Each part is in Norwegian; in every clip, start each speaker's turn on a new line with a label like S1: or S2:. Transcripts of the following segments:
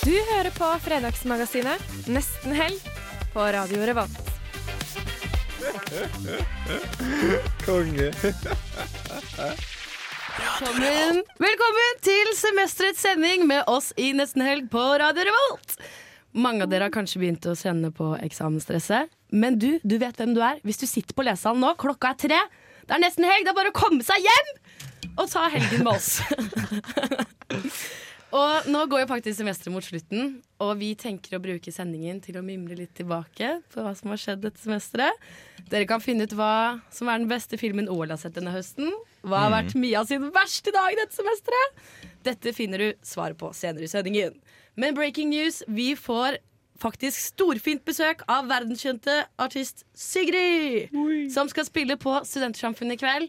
S1: Du hører på Fredagsmagasinet Nesten helg på Radio Revolt.
S2: Konge.
S3: Velkommen. Velkommen til semesterets sending med oss i Nesten Helg på Radio Revolt. Mange av dere har kanskje begynt å kjenne på eksamensstresset. Men du du vet hvem du er. Hvis du sitter på lesesalen nå, klokka er tre, det er nesten helg, det er bare å komme seg hjem og ta helgen med oss. og nå går jo faktisk semesteret mot slutten, og vi tenker å bruke sendingen til å mimre litt tilbake på hva som har skjedd dette semesteret. Dere kan finne ut hva som er den beste filmen OL har sett denne høsten. Hva har vært Mia sin verste dag dette semesteret? Dette finner du svaret på senere i sendingen. Men breaking news, vi får faktisk storfint besøk av verdenskjente artist Sigrid. Som skal spille på Studentersamfunnet i kveld.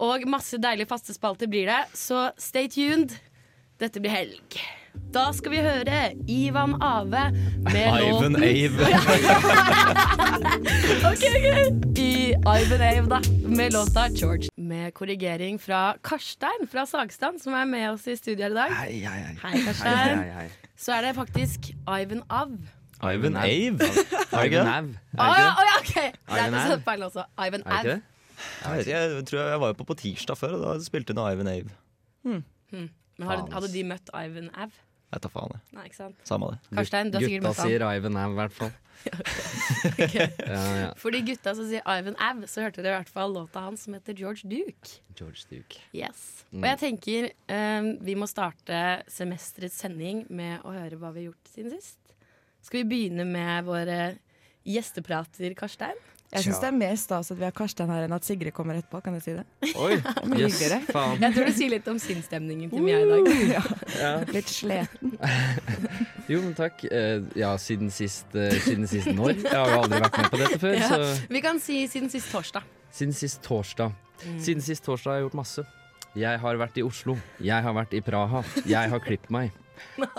S3: Og masse deilige faste spalter blir det, så stay tuned. Dette blir helg. Da skal vi høre Ivan Ave med låten
S4: Ivan Ave.
S3: Ok, ok. I Ivan Ave, da. Med låta George. Med korrigering fra Karstein fra Sagstrand, som er med oss i studio her i dag.
S4: Hei, hei, hei.
S3: Hei, Karstein. Så er det faktisk Ivan Av.
S4: Ivan Ave. Er det ikke det?
S3: Å ja, å ja, ok! Det er
S4: Ivan
S3: noe
S4: Av.
S3: feil også. Ivan
S4: Er
S3: Av.
S4: det ikke det? Jeg, vet ikke, jeg tror jeg var jo på på tirsdag før, og da spilte hun Ivan Ave.
S3: Men hadde,
S4: Faen,
S3: hadde
S4: ass.
S3: de møtt Ivan Av?
S4: Jeg tar faen, jeg.
S3: Nei, ikke sant?
S4: Samme det.
S3: Karstein, du har sikkert
S5: Gutta
S3: møtt han.
S5: sier Ivan Av, i hvert fall. ja, ja.
S3: For de gutta som sier Ivan Av, så hørte dere i hvert fall låta hans som heter George Duke.
S5: George Duke.
S3: Yes. Og jeg tenker eh, vi må starte semesterets sending med å høre hva vi har gjort siden sist. Skal vi begynne med våre gjesteprater, Karstein?
S6: Jeg syns det er mer stas at vi har Karstein her enn at Sigrid kommer etterpå. Kan jeg si det?
S4: Oi,
S6: Det er mye
S5: Yes,
S6: hyggeligere.
S5: faen.
S3: Jeg tror det sier litt om sinnsstemningen til Mia i dag.
S6: Litt sleten.
S5: Jo, men takk. Eh, ja, siden sist, eh, siden sist når? Jeg har jo aldri vært med på dette før.
S3: Ja.
S5: Så
S3: Vi kan si siden sist torsdag.
S5: siden sist torsdag.
S3: Mm.
S5: Siden sist torsdag har jeg gjort masse. Jeg har vært i Oslo. Jeg har vært i Praha. Jeg har klippet meg.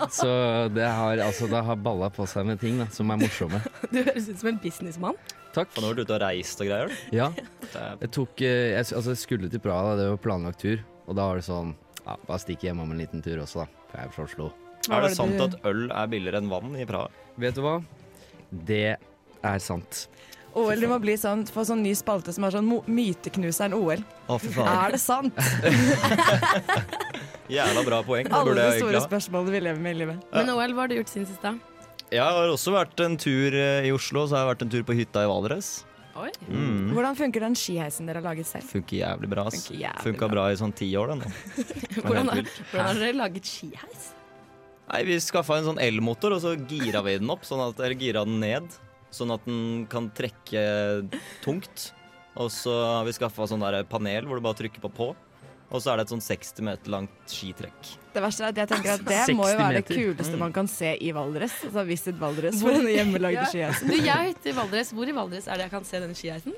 S5: Så det har, altså, det har balla på seg med ting da, som er morsomme.
S3: Du høres ut som en businessmann.
S5: Takk.
S4: for nå har du vært ute og reist og greier. du.
S5: Ja,
S4: Det
S5: jeg tok eh, jeg, s- Altså, jeg skulle til Praha, da. det var planlagt tur. Og da var det sånn ja, Bare stikk hjem om en liten tur også, da. For jeg er fra Oslo.
S4: Er er det sant at øl er billigere enn vann i Praha?
S5: Vet du hva? Det er sant.
S6: OL, du må bli sånn, få sånn ny spalte som er sånn mo- myteknuseren OL.
S4: Å, fy faen.
S6: Er det sant?
S4: Jævla bra poeng. Det
S6: Alle
S4: burde
S6: de
S4: jeg
S6: store
S4: egentlig ha.
S6: spørsmålene vi lever med i livet.
S3: Men OL, hva har du gjort siden sist, da?
S4: Jeg har også vært en tur eh, i Oslo, så har jeg vært en tur på hytta i Valdres.
S3: Oi.
S4: Mm.
S6: Hvordan funker den skiheisen dere har laget selv?
S4: Funker jævlig bra. ass.
S6: Funker jævlig
S4: Funka bra i sånn ti år, den. nå. Men
S3: Hvordan,
S4: helt
S3: har-
S4: vilt.
S3: hvordan har dere laget skiheis?
S4: Nei, Vi skaffa en sånn elmotor, og så gira vi den opp, sånn at, eller gira den ned. Sånn at den kan trekke tungt. Og så har vi skaffa sånn der panel hvor du bare trykker på på. Og så er det et sånn 60 meter langt skitrekk.
S6: Det verste er at jeg tenker at det må
S5: 60
S6: jo være det
S5: meter.
S6: kuleste man kan se i Valdres. Altså Visit Valdres for denne hjemmelagde skiheisen.
S3: Du, jeg heter Valdres. Hvor i Valdres er det jeg kan se denne skiheisen?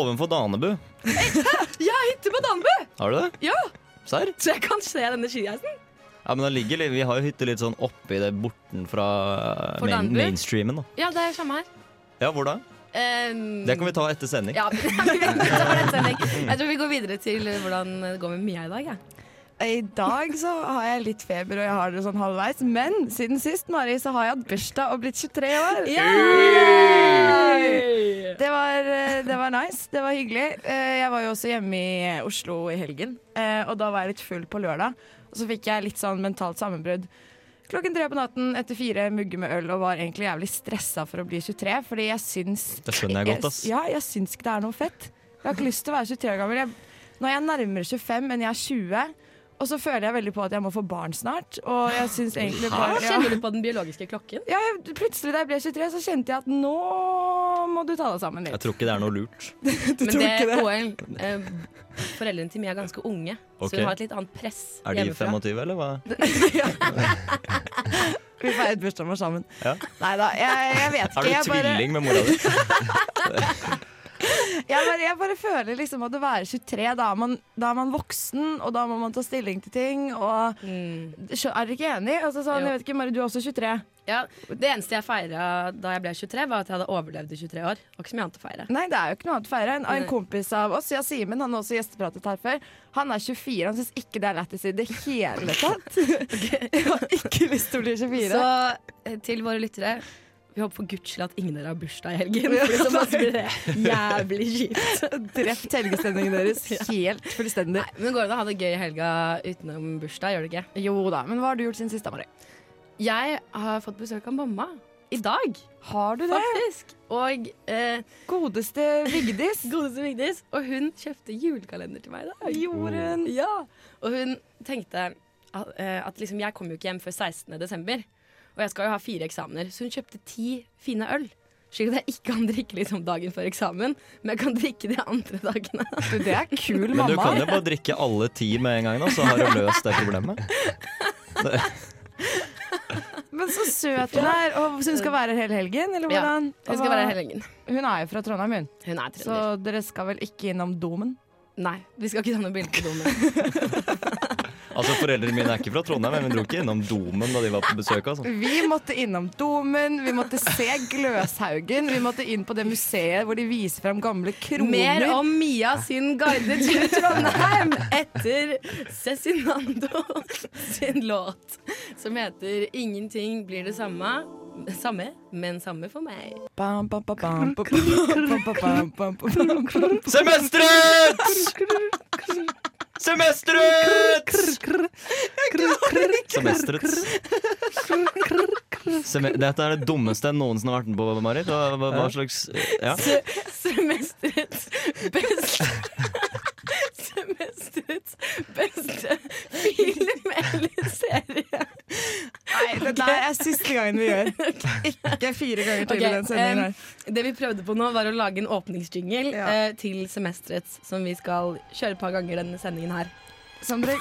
S4: Ovenfor Danebu.
S3: Jeg heter på Danbu!
S4: Har du det?
S3: Ja.
S4: Serr?
S3: Så jeg kan se denne skiheisen.
S4: Ja, men den ligger litt, Vi har jo hytte litt sånn oppi det borten fra
S3: For
S4: main,
S3: Danebu?
S4: mainstreamen. da
S3: Ja, det er samme her.
S4: Ja, hvor da?
S3: Um,
S4: Det kan vi ta etter sending.
S3: Ja, vi tar en sending. Jeg tror vi går videre til hvordan det går med Mia i dag. Ja.
S6: Eh, I dag så har jeg litt feber, og jeg har det sånn halvveis. Men siden sist, Mari, så har jeg hatt bursdag og blitt 23 år. Det var, eh, det var nice. Det var hyggelig. Eh, Jeg var jo også hjemme i Oslo i helgen, eh, og da var jeg litt full på lørdag. Og så fikk jeg litt sånn mentalt sammenbrudd. Klokken tre på natten etter fire mugger med øl og var egentlig jævlig stressa for å bli 23, fordi jeg syns
S4: Det skjønner jeg godt, ass.
S6: Ja, jeg syns ikke det er noe fett. Jeg har ikke lyst til å være 23 år gammel. Jeg, nå er jeg nærmere 25 enn jeg er 20. Og så føler jeg veldig på at jeg må få barn snart. Og jeg syns egentlig bare ja.
S3: Kjenner du på den biologiske klokken?
S6: Ja, jeg, plutselig da jeg ble 23, så kjente jeg at nå må du ta deg sammen litt.
S4: Jeg tror ikke det er noe lurt.
S3: Men det er OL. Eh, foreldrene til Mia er ganske unge, så
S4: Ok.
S3: hun har et litt annet press
S4: Er de
S3: hjemmefra.
S4: 25, eller hva?
S6: Vi det er et bursdag man er sammen.
S4: Ja.
S6: Nei da, jeg, jeg vet
S4: Er
S6: ikke.
S4: du
S6: Jeg bare,
S4: tvilling med mora di?
S6: jeg, bare, jeg bare føler liksom at å være 23, da er, man, da er man voksen, og da må man ta stilling til ting. Og
S3: Mm.
S6: Skjø- Er dere ikke enig? Altså, sånn,
S3: Jo.
S6: jeg vet ikke, Mari, du er også 23.
S3: Ja, det eneste jeg feira da jeg ble 23, var at jeg hadde overlevd i 23 år. Det var ikke så mye annet å feire.
S6: Nei, det er jo ikke noe annet å feire. En, en
S3: Nei.
S6: kompis av oss, ja, Simen, han har også gjestepratet her før, han er 24. Han syns ikke det er lættis i det hele tatt. Jeg har ikke lyst til å bli 24.
S3: Så eh, til våre lyttere vi håper for guds skyld at ingen av dere har bursdag i helgen. For hvis så blir det jævlig kjipt.
S6: drept helgestemningen deres helt fullstendig.
S3: Nei, men det går an å ha det gøy i helga utenom bursdag, gjør det ikke?
S6: Jo da, men hva har du gjort siden sist, da, Mari?
S3: Jeg har fått besøk av mamma i dag,
S6: Har du det?
S3: faktisk. Og eh,
S6: Godeste Vigdis.
S3: godeste Vigdis. Og hun kjøpte julekalender til meg i dag.
S6: Gjorde hun.
S3: Ja. Og hun tenkte at, eh, at liksom, jeg kommer jo ikke hjem før 16. desember. Og jeg skal jo ha fire eksamener, så hun kjøpte ti fine øl. Slik at jeg ikke kan drikke liksom dagen før eksamen, men jeg kan drikke de andre dagene.
S6: Du, det er kul
S4: Men du
S6: mamma.
S4: kan jo bare drikke alle ti med en gang, da, så har du løst det problemet.
S6: Men så søt hun er. Og så hun skal være her hele helgen, eller
S3: Ja,
S6: hvordan?
S3: Hun skal være her hele helgen.
S6: Og hva- Hun er jo fra Trondheim, hun.
S3: Hun er
S6: Så
S3: trønder.
S6: dere skal vel ikke innom Domen?
S3: Nei, vi skal ikke ta noe bilde på domen.
S4: Altså Foreldrene mine er ikke fra Trondheim, men vi dro ikke innom Domen da de var på besøk. Altså.
S6: Vi måtte innom Domen, vi måtte se Gløshaugen, vi måtte inn på det museet hvor de viser fram gamle kroner.
S3: Mer om Mia sin guide til Trondheim etter Cezinando sin låt som heter 'Ingenting blir det samme'. Samme, men samme for meg.
S6: Bam, bam, bam, bam, bam, bam, bam, bam, bam, bam.
S4: Semesteret! Semesteret! Semesteret. Seme Dette er det dummeste jeg noensinne har vært med på, Marit. Hva, hva, hva slags eh, ja.
S3: Se- Semesterets beste Semesterets beste film eller serie.
S6: Nei, det der er siste gangen vi gjør. Ikke fire ganger til
S3: Ok,
S6: i den sendingen her.
S3: em, det vi prøvde på nå, var å lage en åpningsjingle
S6: Ja.
S3: eh, til semesterets, som vi skal kjøre et par ganger denne sendingen her.
S6: Som dere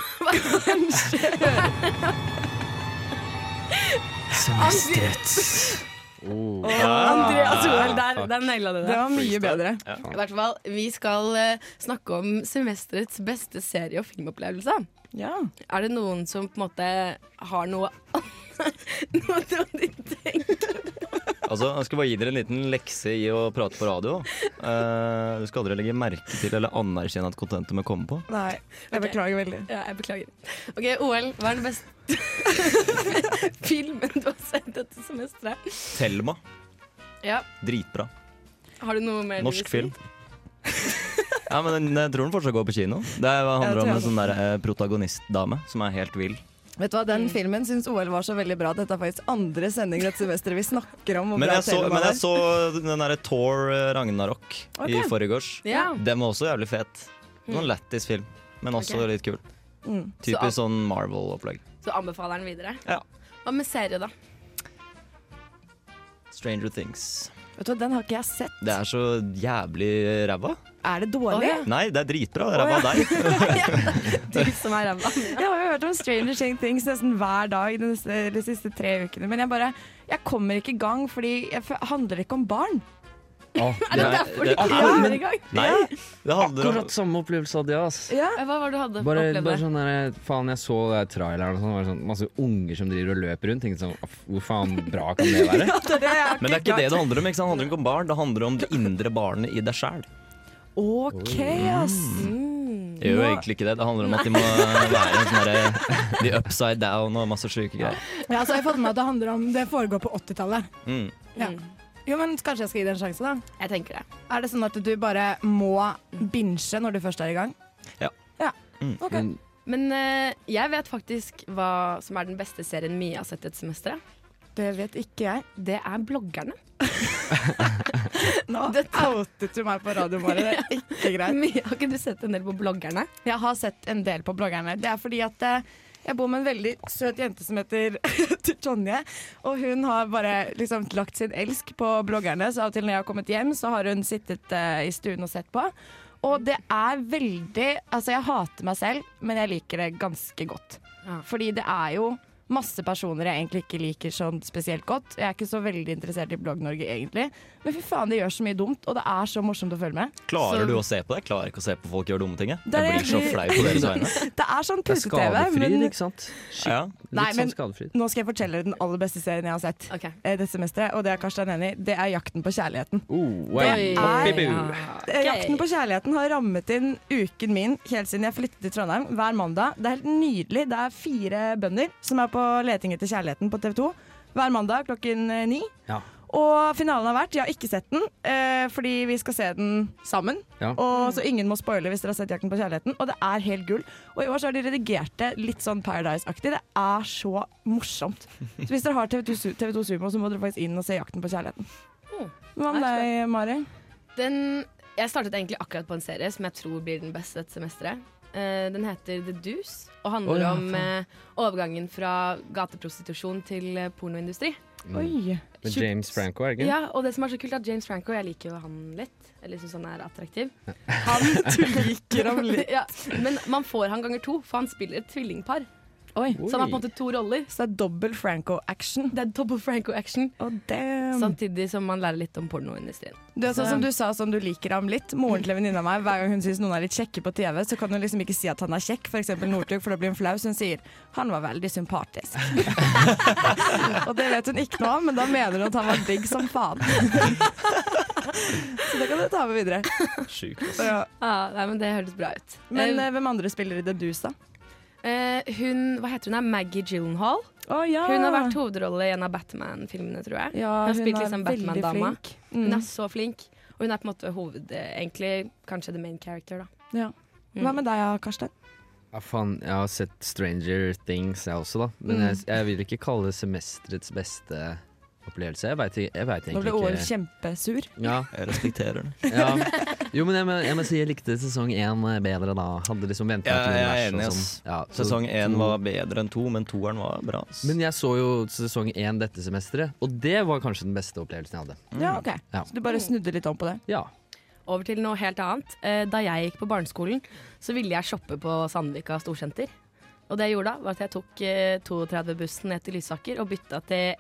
S3: Andreas Hoel, der, der naila du
S6: Det
S3: det.
S6: var mye bedre.
S3: I hvert fall, vi skal eh, snakke om semesterets beste serie- og filmopplevelse.
S6: Ja.
S3: Er det noen som på en måte har noe Noe de tenker
S4: Altså, Jeg skal bare gi dere en liten lekse i å prate på radio. Eh, du skal aldri legge merke til eller anerkjenne at kontentet må komme på.
S6: Nei, jeg beklager veldig.
S3: Ja, jeg beklager. OK, OL, hva er den beste filmen du har sett dette semesteret?
S4: Thelma.
S3: Ja,
S4: Dritbra.
S3: Har du noe mer du vil
S4: Norsk
S3: si?
S4: film. Ja, men den- Jeg tror den fortsatt går på kino. Det handler om en sånn der, eh, protagonistdame som er helt vill.
S6: Vet du hva, Den filmen syns OL var så veldig bra. Dette er faktisk andre sending dette semesteret vi snakker om. hvor
S4: Men
S6: bra
S4: jeg så,
S6: Taylor
S4: men
S6: var.
S4: jeg så den derre Thor eh, Ragnarok i
S6: Ok.
S4: forgårs.
S3: Ja.
S4: Den var også jævlig fet. Noen lættis film, men også
S3: Ok.
S4: litt kul.
S6: Mm.
S4: Typisk sånn Marvel-opplegg.
S3: Så anbefaler den videre?
S4: Ja.
S3: Hva med serie, da?
S4: Stranger Things.
S6: Vet du hva, Den har ikke jeg sett.
S4: Det er så jævlig ræva.
S6: Er det dårlig?
S3: Å,
S4: Nei, det er dritbra. Det er ræva av deg.
S3: Du som er ræva.
S6: Jeg har jo hørt om Stranger Thing- Things nesten hver dag de, neste, de siste tre ukene. Men jeg bare Jeg kommer ikke i gang, fordi jeg fø- handler ikke om barn.
S5: Å,
S3: Det
S5: det
S3: er
S5: er
S3: derfor du ikke
S5: akkurat-
S3: kommer i gang.
S4: Nei, det handler om
S5: akkurat samme opplevelse hadde jeg, ass.
S6: Ja.
S3: Hva var det du hadde
S5: Bare,
S3: opplevd?
S5: bare sånn der, faen, jeg så det der traileren og sånn, det var sånn, masse unger som driver og løper rundt. Tenkte sånn, aff, hvor faen bra kan det være?
S6: Det er det jeg har
S4: Men det er ikke det det handler om. ikke sant? Det handler ikke om barn, det handler om det indre barnet i deg sjæl.
S6: OK, ass.
S7: Mm.
S4: Det gjør jo egentlig ikke det. Det handler om at de må være en sånn derre- de upside down og masse sjuke greier.
S7: Ja, så har jeg fått med meg at det handler om Det foregår på 80-tallet.
S4: Mm.
S7: Jo, men kanskje jeg skal gi det en sjanse, da.
S3: Jeg tenker det.
S7: Er det sånn at du bare må binge når du først er i gang?
S4: Ja.
S7: Ja.
S4: Mm.
S7: Ok.
S5: Men
S3: Men eh, jeg vet faktisk hva som er den beste serien Mia har sett dette semesteret.
S7: Det vet ikke jeg.
S3: Det er bloggerne.
S7: Nå outet du meg på radioen vår. Det er ikke greit.
S3: Mia, har ikke du sett en del på bloggerne?
S7: Jeg har sett en del på bloggerne. Det er fordi at eh, jeg bor med en veldig søt jente som heter Tonje. Og hun har bare liksom lagt sin elsk på bloggerne, så av og til når jeg har kommet hjem, så har hun sittet eh, i stuen og sett på. Og det er veldig Altså, jeg hater meg selv, men jeg liker det ganske godt.
S3: Ja.
S7: Fordi det er jo
S6: Masse personer jeg egentlig ikke liker sånn spesielt godt. Jeg er ikke så veldig interessert i Blogg-Norge egentlig. Men fy faen, de gjør så mye dumt, og det er så morsomt å følge med.
S4: Klarer
S6: Så-
S4: du å se på det? Jeg klarer ikke å se på folk gjøre dumme ting. Jeg,
S6: Det er
S4: jeg blir så
S6: egentlig-
S4: flau på deres vegne.
S6: Det er sånn
S4: Det er
S6: pute-TV,
S4: skadefri,
S6: men
S4: ikke sant? Ja.
S6: Nei,
S4: Litt
S6: men
S4: sånn skadefri.
S6: nå skal jeg fortelle dere den aller beste serien jeg har sett
S3: Ok.
S6: eh, dette semesteret, og det er Karstein enig i. Det er 'Jakten på kjærligheten'.
S5: Oi,
S6: Det
S5: papi,
S6: er-
S5: bu.
S6: Eh, Jakten på kjærligheten har rammet inn uken min helt siden jeg flyttet til Trondheim. Hver mandag. Det er helt nydelig. Det er fire bønder som er på leting etter kjærligheten på TV 2 hver mandag klokken eh, ni.
S5: Ja.
S6: Og finalen har vært. Jeg har ikke sett den, eh, fordi vi skal se den sammen.
S5: Ja.
S6: Og Så ingen må spoile hvis dere har sett 'Jakten på kjærligheten'. Og det er helt gull. Og i år så har de redigert det litt sånn Paradise-aktig. Det er så morsomt. Så hvis dere har TV2, Su- TV2 Sumo, så må dere faktisk inn og se 'Jakten på kjærligheten'.
S3: Oh.
S6: Hva med
S3: Nei,
S6: deg, Mari?
S3: Den, jeg startet egentlig akkurat på en serie som jeg tror blir den beste dette semesteret. Eh, den heter The Deuce og handler
S5: Å, ja,
S3: om eh, overgangen fra gateprostitusjon til eh, pornoindustri.
S6: Oi.
S5: Med James Franco, er det ikke?
S3: Ja, og det som er så kult er at James Franco, jeg liker jo han litt. Jeg liksom sånn er attraktiv. Han, du liker ham litt. ja, men man får han ganger to, for han spiller et tvillingpar.
S6: Oi.
S3: Så han har på en måte to roller.
S6: Så det er dobbel Franco-action.
S3: Det er double Franco-action.
S6: Oh, damn.
S3: Mm. Samtidig som man lærer litt om pornoindustrien.
S6: Det er sånn som du sa, sånn du liker ham litt. Moren til en venninne av meg, hver gang hun syns noen er litt kjekke på TV, så kan hun liksom ikke si at han er kjekk, f.eks. Northug, for da blir hun flau, så hun sier 'han var veldig sympatisk'. og det vet hun ikke noe om, men da mener hun at han var digg som faen. så det kan du ta med videre.
S4: Sjukt. ass.
S6: Ja.
S3: Ja, nei, men Det hørtes bra ut.
S6: Men
S3: Eh,
S6: eh, hvem andre spiller i The Deuce, da?
S3: eh, hun, hva heter hun? Er Maggie Gyllenhaal.
S6: Å ja!
S3: Hun har vært hovedrolle i en av Batman-filmene, tror jeg.
S6: ja,
S3: Ah. Hun har spilt
S6: er
S3: liksom
S6: veldig
S3: Batman-dama.
S6: flink.
S3: Hun
S6: Mm.
S3: er så flink. Og hun er på en måte hoved... eh, Egentlig kanskje the main character, da.
S6: Ja.
S3: Mm.
S6: Hva med deg, Karsten?
S5: Ja, faen, jeg har sett Stranger Things, jeg også, da. Men
S6: Mm.
S5: jeg, jeg vil ikke kalle det semesterets beste opplevelse. Jeg veit egentlig
S6: Nå ble
S5: ikke
S6: Oren kjempesur.
S5: ja,
S4: Jeg respekterer det.
S5: ja. Jo, men jeg, må- jeg må si jeg likte sesong én bedre da. Hadde liksom venta
S4: Ja,
S5: til
S4: jeg
S5: universet
S4: er enig,
S5: og
S4: ass.
S5: sånn. Ja, så-
S4: Sesong én var bedre enn to, men toeren var bra. ass.
S5: Men jeg så jo sesong én dette semesteret, og det var kanskje den beste opplevelsen jeg hadde.
S6: Ja, ok.
S5: Ja.
S6: Så Mm. du bare snudde litt om på det.
S5: Ja.
S3: Over til noe helt annet. Eh, Da jeg gikk på barneskolen, så ville jeg shoppe på Sandvika storsenter. Og det jeg gjorde da, var at jeg tok eh, 32-bussen ned til Lysaker og bytta til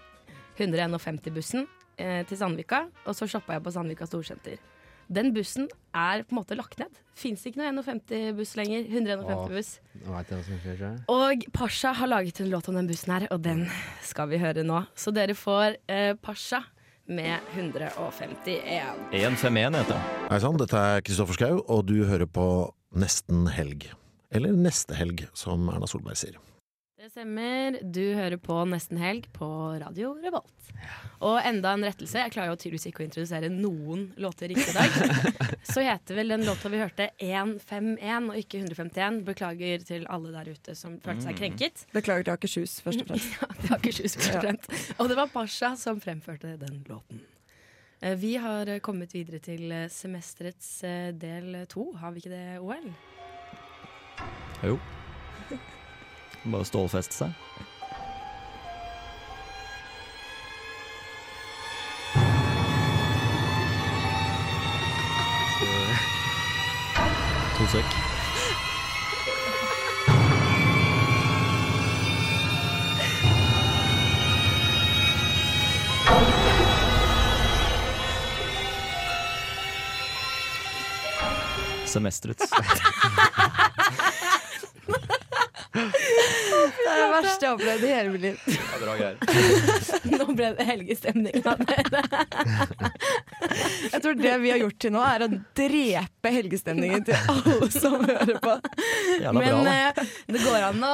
S3: 151-bussen eh, til Sandvika. Og så shoppa jeg på Sandvika storsenter. Den bussen er på en måte lagt ned. Fins ikke noe 51-buss lenger. 151-buss.
S5: Nå vet jeg hva som skjer, tror jeg.
S3: Og Pasha har laget en låt om den bussen her, og den skal vi høre nå. Så dere får eh, Pasha med 151.
S4: 151 heter den.
S8: Hei sann, dette er Kristoffer Schau, og du hører på Nesten helg. Eller Neste helg, som Erna Solberg sier.
S3: Det stemmer. Du hører på Nesten Helg på Radio Revolt. Og enda en rettelse. Jeg klarer jo tydeligvis ikke å introdusere noen låter riktig i dag. Så heter vel den låta vi hørte 151 og ikke 151. Beklager til alle der ute som følte
S6: Mm.
S3: seg krenket.
S6: Beklager til Akershus, først og fremst.
S3: Ja, det var ikke sjus, først og fremst. Og det var Pasha som fremførte den låten. Eh, Vi har eh, kommet videre til eh, semesterets eh, del to. Har vi ikke det, OL?
S4: Jo. Bare stålfeste seg. To sek. Semesterets.
S6: Det er det verste jeg har opplevd i hele mitt liv.
S4: Bra greier.
S3: Nå ble det helgestemning av det.
S6: Jeg tror det vi har gjort til nå, er å drepe helgestemningen til alle som hører på.
S4: Jævla
S3: Men
S4: bra, da.
S3: eh, det går an å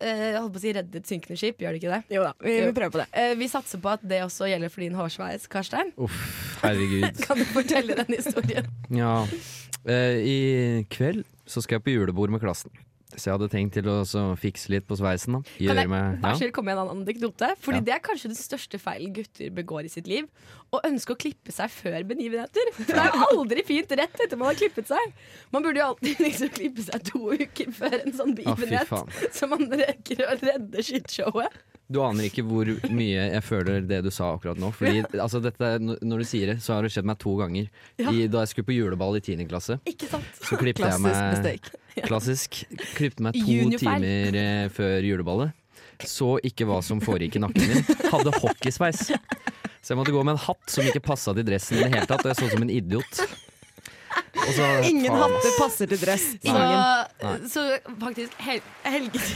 S3: eh, jeg holdt på å si redde et synkende skip, gjør det ikke det?
S6: Jo da, vi, vi prøver på det.
S3: Eh, vi satser på at det også gjelder for din hårsveis, Karstein.
S5: Uff, herregud.
S3: Kan du fortelle den historien?
S5: Ja. Eh, I kveld så skal jeg på julebord med klassen. Så jeg hadde tenkt til å så fikse litt på sveisen. da
S3: Kan
S5: Gjøre
S3: jeg
S5: meg
S3: vær
S5: ja.
S3: så snill komme med en annen anekdote? Fordi
S5: Ja.
S3: det er kanskje den største feilen gutter begår i sitt liv. Å ønske å klippe seg før begivenheter. For det er jo aldri fint rett etter man har klippet seg. Man burde jo alltid liksom klippe seg to uker før en sånn
S5: Å, fy
S3: begivenhet.
S5: faen.
S3: så man rekker å redde shitshowet.
S5: Du aner ikke hvor mye jeg føler det du sa akkurat nå. Fordi altså, dette, n- Når du sier det, så har det skjedd meg to ganger. I, da jeg skulle på juleball i 10. klasse,
S3: Ikke sant?
S5: så klippet jeg
S6: Klassisk
S5: meg
S6: mistake.
S5: Klassisk. Klippet meg to
S3: Juniorfeil.
S5: timer eh, før juleballet. så ikke hva som foregikk i nakken min. Hadde hockeysveis. Så jeg måtte gå med en hatt som ikke passa til dressen i det hele tatt, og jeg så ut som en idiot. Og så-
S7: Ingen
S5: faen,
S7: hatter
S5: ass.
S7: passer til dress.
S3: Så,
S5: Nei.
S3: så faktisk hel, helget-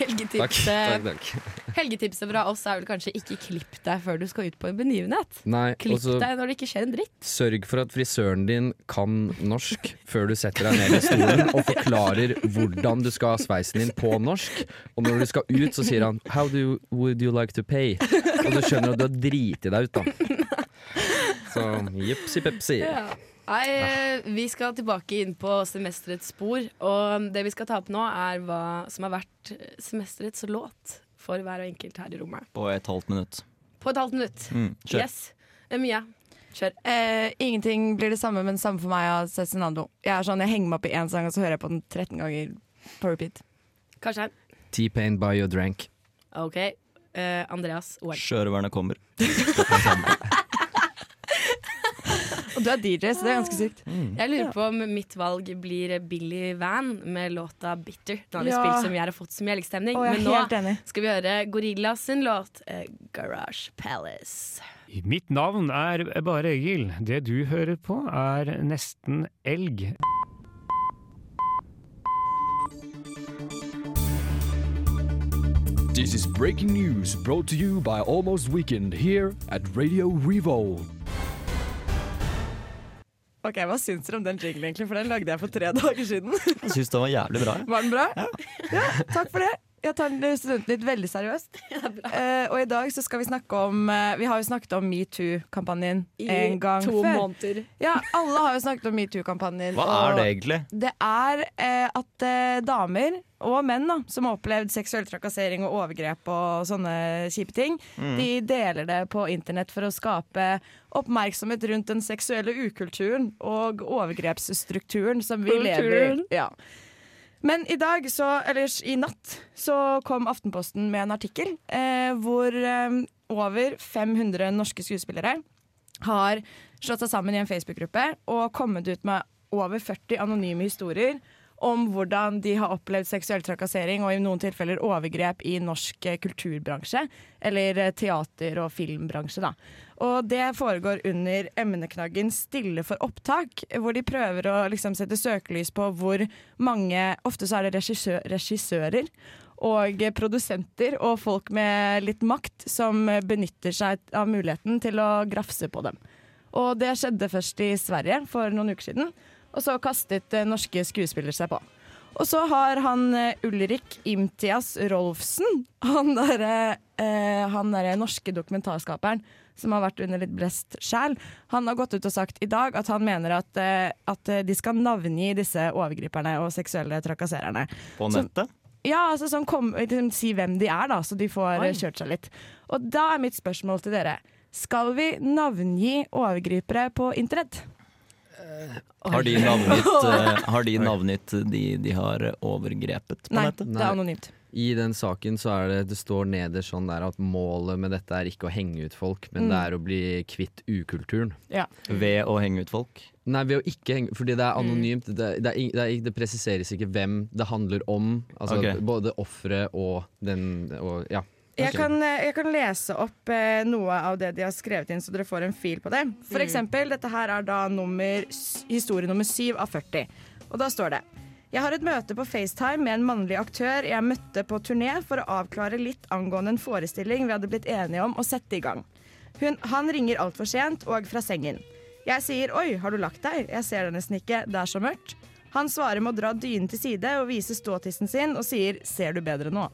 S5: Takk, takk,
S3: helgetipset,
S5: takk.
S3: helgetipset fra oss er vel kanskje ikke klipp deg før du skal ut på en begivenhet.
S5: Nei, og
S3: Klipp
S5: så
S3: deg når det ikke skjer en dritt.
S5: sørg for at frisøren din kan norsk før du setter deg ned i stolen og forklarer hvordan du skal ha sveisen din på norsk. Og når du skal ut, så sier han 'How do you, would you like to pay?' Og du skjønner at du har driti deg ut, da. Så jipsi pepsi.
S3: Nei, eh, vi skal tilbake inn på semesterets spor, og det vi skal ta opp nå, er hva som har vært semesterets låt for hver og enkelt her i rommet.
S4: På et halvt minutt.
S3: På et halvt minutt.
S4: Mm, kjør.
S3: Yes. Eh, Mia, kjør.
S6: Eh, ingenting blir det samme, men samme for meg av Cezinando. Jeg er sånn, jeg henger meg opp i én sang, og så hører jeg på den 13 ganger på repeat.
S3: Kanskje her.
S5: T-Pain by your drank.
S3: OK. eh, Andreas OL.
S4: Sjørøverne kommer.
S6: Og du er DJ, så det er ganske sykt.
S3: Jeg lurer på om mitt valg blir Billy Van med låta 'Bitter'. Den har vi
S6: Ja.
S3: spilt så mye her og fått så mye elgstemning.
S6: Å, jeg er
S3: Men nå
S6: helt enig.
S3: skal vi høre Gorillas sin låt eh, 'Garage Palace'.
S9: Mitt navn er Bare Egil. Det du hører på er nesten elg.
S10: This is breaking news brought to you by Almost Weekend here at Radio Revolt.
S6: Ok, Hva syns dere om den jinglen, egentlig? For den lagde jeg for tre dager siden.
S4: Jeg syns den var jævlig bra. jeg.
S6: Var den bra? Ja. takk for det. Jeg tar den Studentnytt veldig seriøst. Eh, og i dag så skal vi snakke om eh, Vi har jo snakket om metoo-kampanjen en gang
S1: to
S6: før.
S1: måneder.
S6: Ja, alle har jo snakket om metoo-kampanjen.
S4: Hva
S6: og-
S4: er det egentlig?
S6: Det er eh, at eh, damer og menn da, som har opplevd seksuell trakassering og overgrep og sånne kjipe ting,
S11: Mm.
S6: de deler det på internett for å skape oppmerksomhet rundt den seksuelle ukulturen og overgrepsstrukturen som vi lever
S11: Kulturen.
S6: i. Ja. Men i dag, så, eller i natt, så kom Aftenposten med en artikkel eh, hvor eh, over 500 norske skuespillere har slått seg sammen i en Facebook-gruppe og kommet ut med over 40 anonyme historier om hvordan de har opplevd seksuell trakassering og i noen tilfeller overgrep i norsk eh, kulturbransje, eller eh, teater- og filmbransje. Da. Og det foregår under emneknaggen 'Stille for opptak', hvor de prøver å liksom, sette søkelys på hvor mange Ofte så er det regissø regissører og eh, produsenter og folk med litt makt som eh, benytter seg av muligheten til å grafse på dem. Og det skjedde først i Sverige for noen uker siden, og så kastet eh, norske skuespillere seg på. Og så har han eh, Ulrik Imtias Rolfsen, han derre eh, han derre norske dokumentarskaperen som har vært under litt blest sjæl, han har gått ut og sagt i dag at han mener at, eh, at eh, de skal navngi disse overgriperne og seksuelle trakassererne.
S4: På
S6: Så-
S4: nettet?
S6: ja, altså sånn kom, liksom, si hvem de er, da, så de får eh, kjørt seg litt. Og da er mitt spørsmål til dere. Skal vi navngi overgripere på internett?
S4: Har de navngitt, eh, har de, navngitt de de har overgrepet på
S6: Nei,
S4: nettet?
S6: det er anonymt.
S5: I den saken så er det det står nederst sånn der at målet med dette er ikke å henge ut folk, men
S6: Mm.
S5: det er å bli kvitt ukulturen.
S6: Ja.
S4: Ved å henge ut folk?
S5: Nei, ved å ikke henge Fordi det er anonymt. Det, det, er, ing- det, er, ikke- det presiseres ikke hvem det handler om. Altså
S4: Ok.
S5: både offeret og den og, Ja.
S6: Jeg kan, eh, jeg kan lese opp eh, noe av det de har skrevet inn, så dere får en fil på det. For
S11: Mm.
S6: eksempel, dette her er da nummer, s- historie nummer 7 av 40. Og da står det Jeg har et møte på FaceTime med en mannlig aktør jeg møtte på turné for å avklare litt angående en forestilling vi hadde blitt enige om å sette i gang. Hun, han ringer altfor sent og fra sengen. Jeg sier 'oi, har du lagt deg?' Jeg ser deg nesten ikke, det er så mørkt. Han svarer med å dra dynen til side og vise ståtissen sin og sier 'ser du bedre nå'?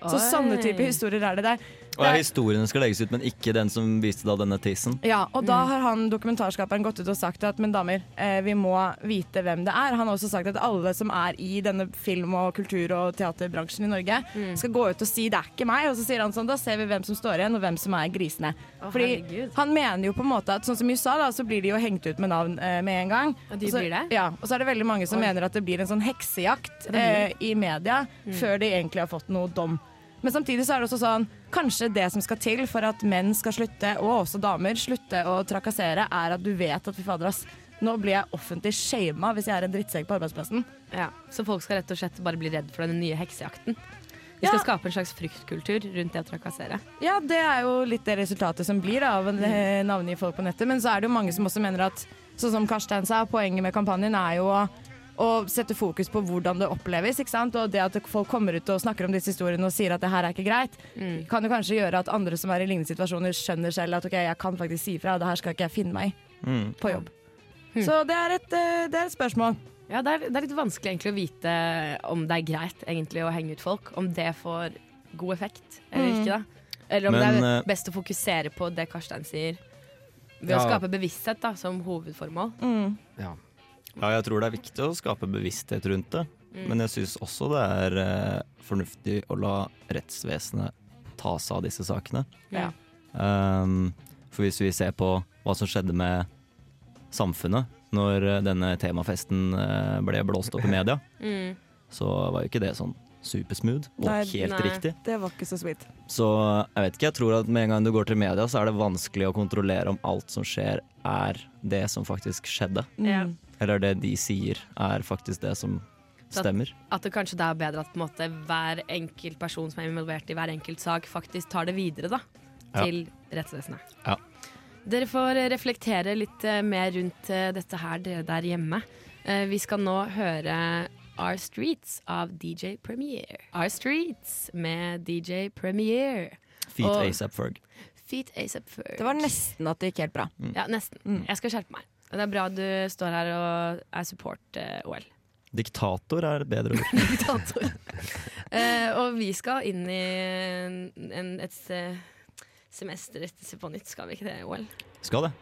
S6: Så
S3: Oi.
S6: sånne type historier er det der.
S4: Og ja, historiene skal legges ut, men ikke den som viste da denne tissen.
S6: Ja, og da har han dokumentarskaperen gått ut og sagt at men damer, eh, vi må vite hvem det er. Han har også sagt at alle som er i denne film- og kultur- og teaterbransjen i Norge, skal gå ut og si 'det er ikke meg', og så sier han sånn 'da ser vi hvem som står igjen, og hvem som er grisene'.
S3: Å,
S6: Fordi
S3: herregud.
S6: han mener jo på en måte at sånn som i USA, da, så blir de jo hengt ut med navn eh, med en gang.
S3: Ja, de
S6: Og så,
S3: blir det?
S6: Ja, og så er det veldig mange som
S3: Oi.
S6: mener at det blir en sånn heksejakt
S3: Ja, det blir Mm.
S6: eh, i media før de egentlig har fått noe dom. Men samtidig så er det også sånn Kanskje det som skal til for at menn skal slutte, og også damer, slutte å trakassere, er at du vet at fy fader, ass, nå blir jeg offentlig shama hvis jeg er en drittsekk på arbeidsplassen.
S3: Ja, Så folk skal rett og slett bare bli redd for den nye heksejakten? Vi skal skape en slags fryktkultur rundt det å trakassere.
S6: Ja, det er jo litt det resultatet som blir da, av en- eh, navngi folk på nettet. Men så er det jo mange som også mener at, sånn som Karstein sa, poenget med kampanjen er jo å, å sette fokus på hvordan det oppleves, ikke sant? Og det at folk kommer ut og snakker om disse historiene og sier at det her er ikke greit,
S7: Mm.
S6: kan jo kanskje gjøre at andre som er i lignende situasjoner skjønner selv at ok, jeg kan faktisk si fra, og det her skal ikke jeg finne meg i på jobb. Så det er, et, eh, det er et spørsmål.
S3: Ja, det er, det er litt vanskelig egentlig å vite om det er greit egentlig å henge ut folk. Om det får god effekt eller
S1: Mm.
S3: ikke. da. Eller om
S4: Men,
S3: det
S4: eh,
S3: er best å fokusere på det Karstein sier. Ved å
S4: Ja.
S3: skape bevissthet da, som hovedformål.
S5: Ja.
S4: Ja, jeg tror det er viktig å skape bevissthet rundt det.
S3: Mm.
S4: Men jeg syns også det er eh, fornuftig å la rettsvesenet ta seg av disse sakene.
S3: Ja.
S4: Um, for hvis vi ser på hva som skjedde med samfunnet når eh, denne temafesten eh, ble blåst opp i media,
S6: Mm.
S4: så var jo ikke det sånn supersmooth og helt riktig.
S6: Det var ikke så sweet.
S4: Så jeg vet ikke, jeg tror at med en gang du går til media, så er det vanskelig å kontrollere om alt som skjer er det som faktisk skjedde.
S3: Ja.
S6: Mm.
S4: Eller det de sier er faktisk det som
S3: Så at-
S4: stemmer.
S3: At det kanskje det er bedre at på en måte, hver enkelt person som er involvert i hver enkelt sak, faktisk tar det videre da,
S4: Ja.
S3: til rettsvesenet.
S4: Ja.
S3: Dere får reflektere litt eh, mer rundt eh, dette her, dere der hjemme. Eh, Vi skal nå høre Our Streets av DJ Premier. Our Streets med DJ Premier.
S4: Feet
S3: Og-
S4: ASAP Ferg.
S3: Feet A$AP Ferg.
S6: Det var nesten Mm. at det gikk helt bra.
S3: Ja, nesten. Jeg skal skjerpe meg. Det er bra du står her og er eh, support-OL.
S4: Diktator er et bedre ord.
S3: diktator. Eh, og vi skal inn i en, en, et se- semester etter Se på nytt, skal vi ikke det, OL?
S4: Skal det.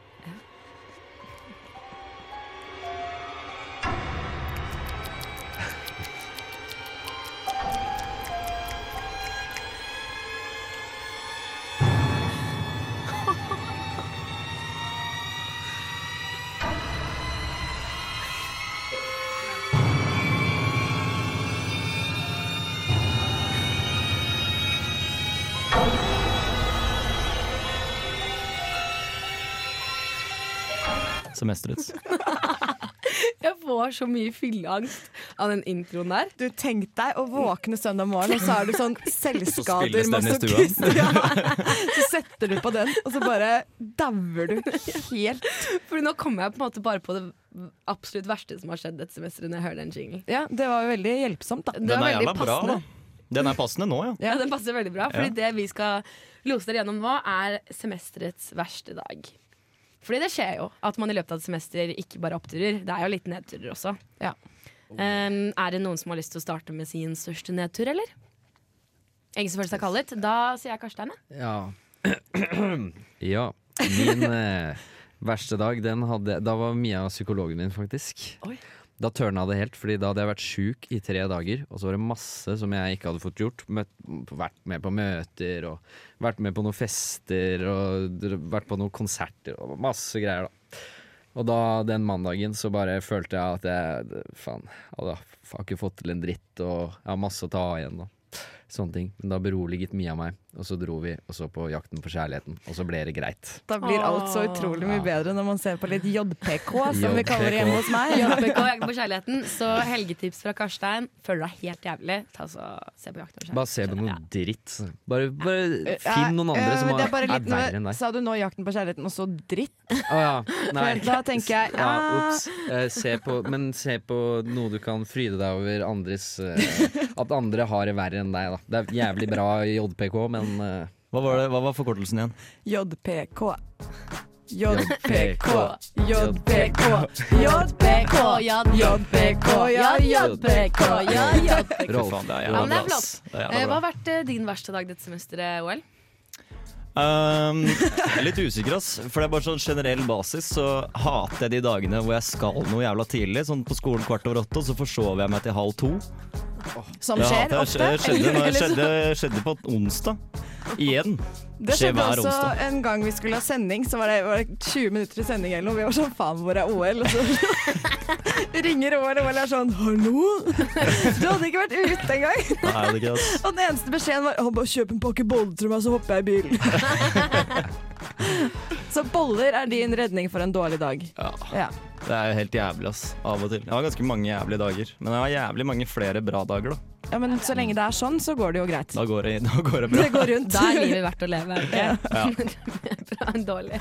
S4: Semesterets.
S3: Jeg får så mye fylleangst av den introen der.
S6: Du tenkte deg å våkne søndag morgen, og så er du sånn selvskader,
S4: spilles den i stua.
S6: masochist. Ja. Så setter du på den, og så bare dauer du helt.
S3: Fordi nå kommer jeg på en måte bare på det absolutt verste som har skjedd dette semesteret, når jeg hører den jinglen.
S6: Ja, det var jo veldig hjelpsomt, da.
S3: Det var veldig
S4: bra,
S3: passende.
S4: da. Den er passende nå, ja.
S3: Ja, Den passer veldig bra, fordi
S4: Ja.
S3: det vi skal lose dere gjennom nå, er semesterets verste dag. Fordi det skjer jo at man i løpet av et semester ikke bare oppturer, det er jo litt nedturer også. Um, er det noen som har lyst til å starte med sin største nedtur, eller? Ingen som føler seg kallet? Da sier jeg Karstein. jeg.
S5: Ja. ja. Min eh, verste dag, den hadde Da var Mia psykologen min, faktisk. Da tørna det helt, Fordi da hadde jeg vært sjuk i tre dager. Og så var det masse som jeg ikke hadde fått gjort. Møtt, vært med på møter, og vært med på noen fester, og dr- vært på noen konserter, og masse greier, da. Og da den mandagen så bare følte jeg at jeg faen, hadde, har ikke fått til en dritt, og jeg har masse å ta igjen. da Sånne ting. Men da beroliget Mia meg, og så dro vi og så på Jakten på kjærligheten, og så ble det greit.
S6: Da blir alt så utrolig mye bedre når man ser på litt JPK, som vi kaller det
S5: JPK.
S6: hjemme hos meg.
S3: JPK, Jakt på kærligheten. Så helgetips fra Karstein. Føler deg helt jævlig, ta så, se på Jakt på
S5: Bare
S3: kjærligheten.
S5: se på noe dritt. Bare, bare
S6: Eh,
S5: finn noen andre
S6: eh,
S5: som
S6: men
S5: er,
S6: det er bare
S5: er
S6: litt-
S5: verre enn deg.
S6: Sa du nå 'Jakten på kjærligheten' og så dritt?
S5: Å ja. Nei.
S6: For da tenker jeg,
S5: ja,
S6: ah.
S5: ups. Eh, se på, men se på noe du kan fryde deg over andres eh, At andre har det verre enn deg, da. Det er jævlig bra i JPK, men eh,
S4: Hva var, det, hva var forkortelsen igjen?
S6: JPK.
S5: JPK.
S6: JPK. JPK. JPK. JPK.
S3: JPK.
S4: Fy faen, det er
S3: Ja, men det
S4: jævla
S3: er
S4: bra, ass.
S3: flott.
S4: Det er
S3: Eh, Hva
S4: jævla
S3: har
S4: bra.
S3: vært eh, din verste dag dette semesteret, OL?
S4: Um, jeg er litt usikker, ass. For det er bare sånn generell basis så hater jeg de dagene hvor jeg skal noe jævla tidlig. Sånn på skolen kvart over åtte, og så forsover jeg meg til halv to.
S6: Som
S4: Det
S6: skjer
S4: hater jeg.
S6: ofte.
S4: Skjedde, når-
S6: Eller så-
S4: skjedde, skjedde på onsdag. Igjen.
S6: Det
S4: Skjer
S6: skjedde
S4: hver
S6: også
S4: onsdag.
S6: en gang vi skulle ha sending, så var det, var det 20 minutter i sending eller noe. Vi var sånn faen, hvor er OL? Og så ringer OL, og OL er sånn hallo? Du hadde ikke vært ute engang.
S4: Nei, det er ikke det, ass.
S6: Og den eneste beskjeden var «Å, bare kjøp en pakke boller til meg, så hopper jeg i bilen. så boller er din redning for en dårlig dag. Ja.
S4: Det er jo helt jævlig, ass. Av og til. Jeg har ganske mange jævlige dager. Men jeg har jævlig mange flere bra dager, da.
S6: Ja, men så lenge det er sånn, så går det jo greit.
S4: Da går det, da går det bra.
S6: Det går rundt.
S3: Da er livet verdt å leve. er det ikke?
S4: Ja.
S3: Bra enn dårlig.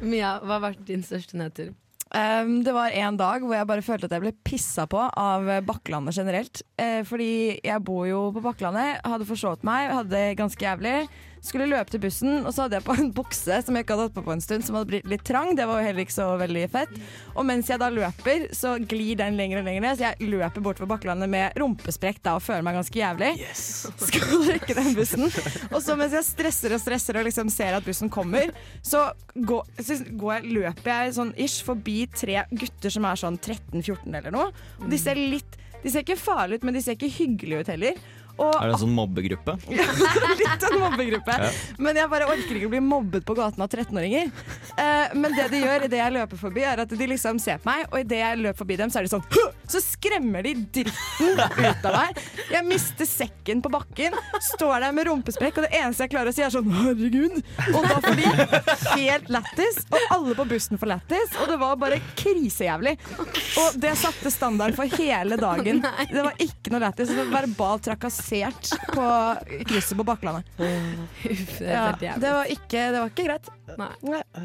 S3: Mia, hva har vært din største nedtur?
S6: Um, det var en dag hvor jeg bare følte at jeg ble pissa på av eh, Bakklandet generelt. Eh, fordi jeg bor jo på Bakklandet, hadde forstått meg, hadde det ganske jævlig. Skulle løpe til bussen, og så hadde jeg på en bukse som jeg ikke hadde hatt på på en stund, som hadde blitt litt trang. Det var jo heller ikke så veldig fett. Og mens jeg da løper, så glir den lenger og lenger ned, så jeg løper bortover Bakklandet med rumpesprekk da og føler meg ganske jævlig. Skal rekke den bussen. Og så mens jeg stresser og stresser og liksom ser at bussen kommer, så går, så går jeg, løper jeg sånn ish forbi tre gutter som er sånn 13-14 eller noe. Og de ser litt De ser ikke farlige ut, men de ser ikke hyggelige ut heller. Og
S4: Er det en sånn mobbegruppe?
S6: Litt av en mobbegruppe.
S4: Ja.
S6: Men jeg bare orker ikke å bli mobbet på gaten av 13-åringer. Eh, men det de gjør idet jeg løper forbi, er at de liksom ser på meg, og idet jeg løper forbi dem, så er de sånn «Hå!» Så skremmer de dritten ut av meg. Jeg mister sekken på bakken, står der med rumpesprekk, og det eneste jeg klarer å si, er sånn herregud. Og da får de helt lættis, og alle på bussen får lættis, og det var bare krisejævlig. Og det satte standarden for hele dagen. Det var ikke noe lættis. det var Verbalt trakassert på krysset på Bakklandet.
S3: det er
S6: Ja,
S3: helt jævlig.
S6: det, var ikke, det var ikke greit.
S3: Nei.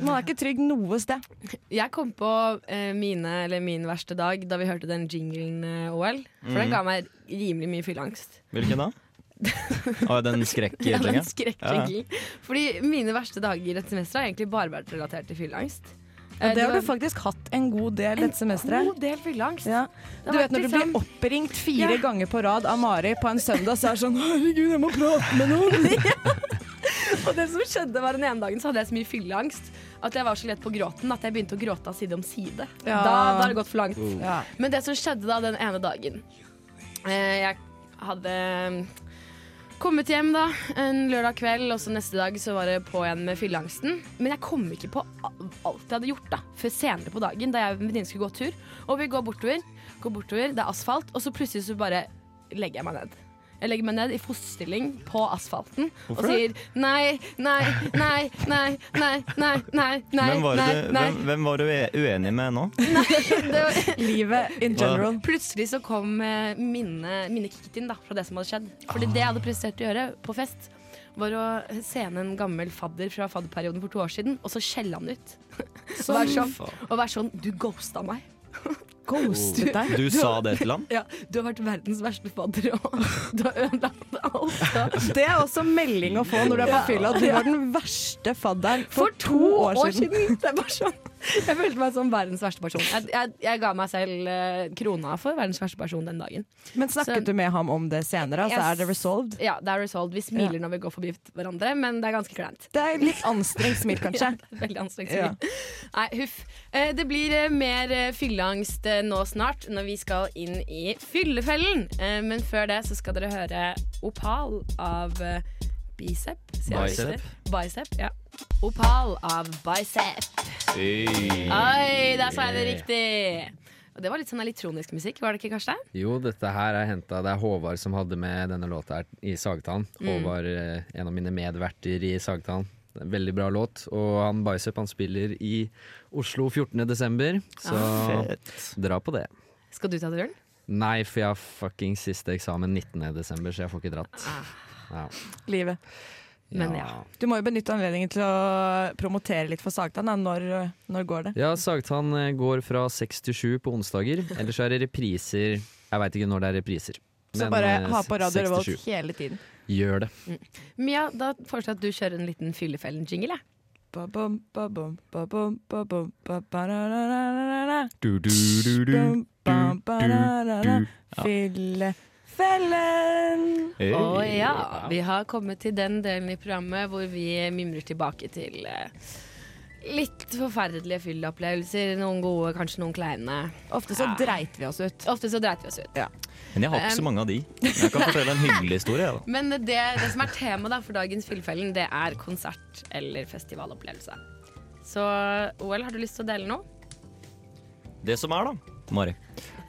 S6: Man er ikke trygg noe sted.
S3: Jeg kom på eh, mine, eller min verste dag da vi hørte den jinglen eh, OL. For
S4: Mhm.
S3: den ga meg rimelig mye fylleangst.
S4: Hvilken da? Å, den skrekk
S3: Ja, den skrekkjinglen. Fordi mine verste dager dette semesteret har egentlig bare vært relatert til fylleangst.
S6: Og
S3: Eh,
S6: det har
S3: var-
S6: du faktisk hatt en god del
S3: En
S6: dette semesteret.
S3: god del fylleangst. Det
S6: Du
S3: har
S6: vet når
S3: vært
S6: du blir
S3: liksom-
S6: oppringt fire
S3: Ja.
S6: ganger på rad av Mari på en søndag, så er det sånn 'herregud, jeg må prate med noen'.
S3: Og det som skjedde var Den ene dagen så hadde jeg så mye fylleangst at jeg var så lett på gråten at jeg begynte å gråte av side om side. Da,
S6: Ja.
S3: da har det gått for langt.
S6: Oh. Ja.
S3: Men det som skjedde da den ene dagen eh, Jeg hadde mm, kommet hjem da en lørdag kveld, og så neste dag så var det på igjen med fylleangsten. Men jeg kom ikke på a- alt jeg hadde gjort da før senere på dagen, da jeg og en venninne skulle gå tur. Og vi går bortover, går bortover, det er asfalt, og så plutselig så bare legger jeg meg ned. Jeg legger meg ned i fosterstilling på asfalten
S4: Hvorfor
S3: og
S4: det?
S3: sier nei, nei, nei, nei, nei, nei, nei, nei,
S4: Hvem var,
S3: nei,
S4: du,
S3: nei.
S4: hvem, hvem var du e- uenig med nå?
S6: Livet in
S4: general.
S3: Plutselig så kom eh, minnet mine kicket inn da, fra det som hadde skjedd. Fordi det jeg hadde prestert å gjøre på fest, var å sene en gammel fadder fra fadderperioden for to år siden, og så skjelle han ut. Og være sånn, og være sånn Du ghosta meg.
S6: Ghostet deg?
S4: Du sa det til han?
S3: Ja, du har vært verdens verste fadder, og du har ødelagt alt.
S6: Det er også melding å få når du er på
S3: Ja.
S6: fylla. Du var den verste fadderen for, to år siden.
S3: Det er bare sånn. Jeg følte meg som verdens verste person. Jeg, jeg, jeg ga meg selv eh, krona for verdens verste person den dagen.
S6: Men snakket du med ham om det senere? Altså,
S3: Jeg
S6: er det resolved?
S3: Ja, det er resolved. Vi smiler når vi går forbi hverandre, men det er ganske kleint.
S6: Det er litt anstrengt smil, kanskje.
S3: Ja, det er veldig anstrengt smil. Nei, huff. Eh, Det blir eh, mer eh, fylleangst eh, nå snart, når vi skal inn i Fyllefellen. Eh, Men før det så skal dere høre Opal av eh, Bicep. sier jeg
S4: Bicep.
S3: riktig? Bicep, ja. Opal av Bicep. Oi, der sa jeg det riktig! Og det var litt sånn elektronisk musikk, var det ikke, Karstein?
S5: Jo, dette her er henta Det er Håvard som hadde med denne låta her i Sagtann.
S3: Mm.
S5: Håvard, eh, en av mine medverter i Sagtann. Det er en Veldig bra låt. Og han Bicep han spiller i Oslo 14.12., så
S3: Ah.
S5: dra på det.
S3: Skal du ta turen?
S5: Nei, for jeg har fucking siste eksamen 19.12., så jeg får ikke dratt.
S6: Ah.
S5: Ja.
S6: Livet.
S5: Men ja.
S6: Du må jo benytte anledningen til å promotere litt for Sagtann. da. Når, når går det?
S5: Ja, Sagtann eh, går fra seks til sju på onsdager. Ellers er det repriser Jeg veit ikke når det er repriser.
S6: Så
S5: men,
S6: bare
S5: eh,
S6: ha på Radio
S5: seks til sju.
S6: Revolt hele tiden.
S5: Gjør det.
S3: Mia, da foreslår jeg at du kjører en liten Fyllefellen-jingle. jeg.
S6: Ba-bum, ba-bum, ba-bum, ba-bum, ba-ba-da-da-da-da-da. Bum, bam, ba-da-da-da. Fyllefellen!
S3: Å ja. Vi har kommet til den delen i programmet hvor vi mimrer tilbake til eh, litt forferdelige fylleopplevelser. Noen gode, kanskje noen kleine.
S6: Ofte så dreit vi oss ut.
S3: Ofte så dreit vi oss ut.
S4: Men jeg har ikke så mange av de. Jeg kan fortelle en hyggelig historie. jeg, Da.
S3: Men det, det som er temaet da for dagens Fyllefellen, det er konsert- eller festivalopplevelse. Så OL, har du lyst til å dele noe?
S4: Det som er, da, Mari,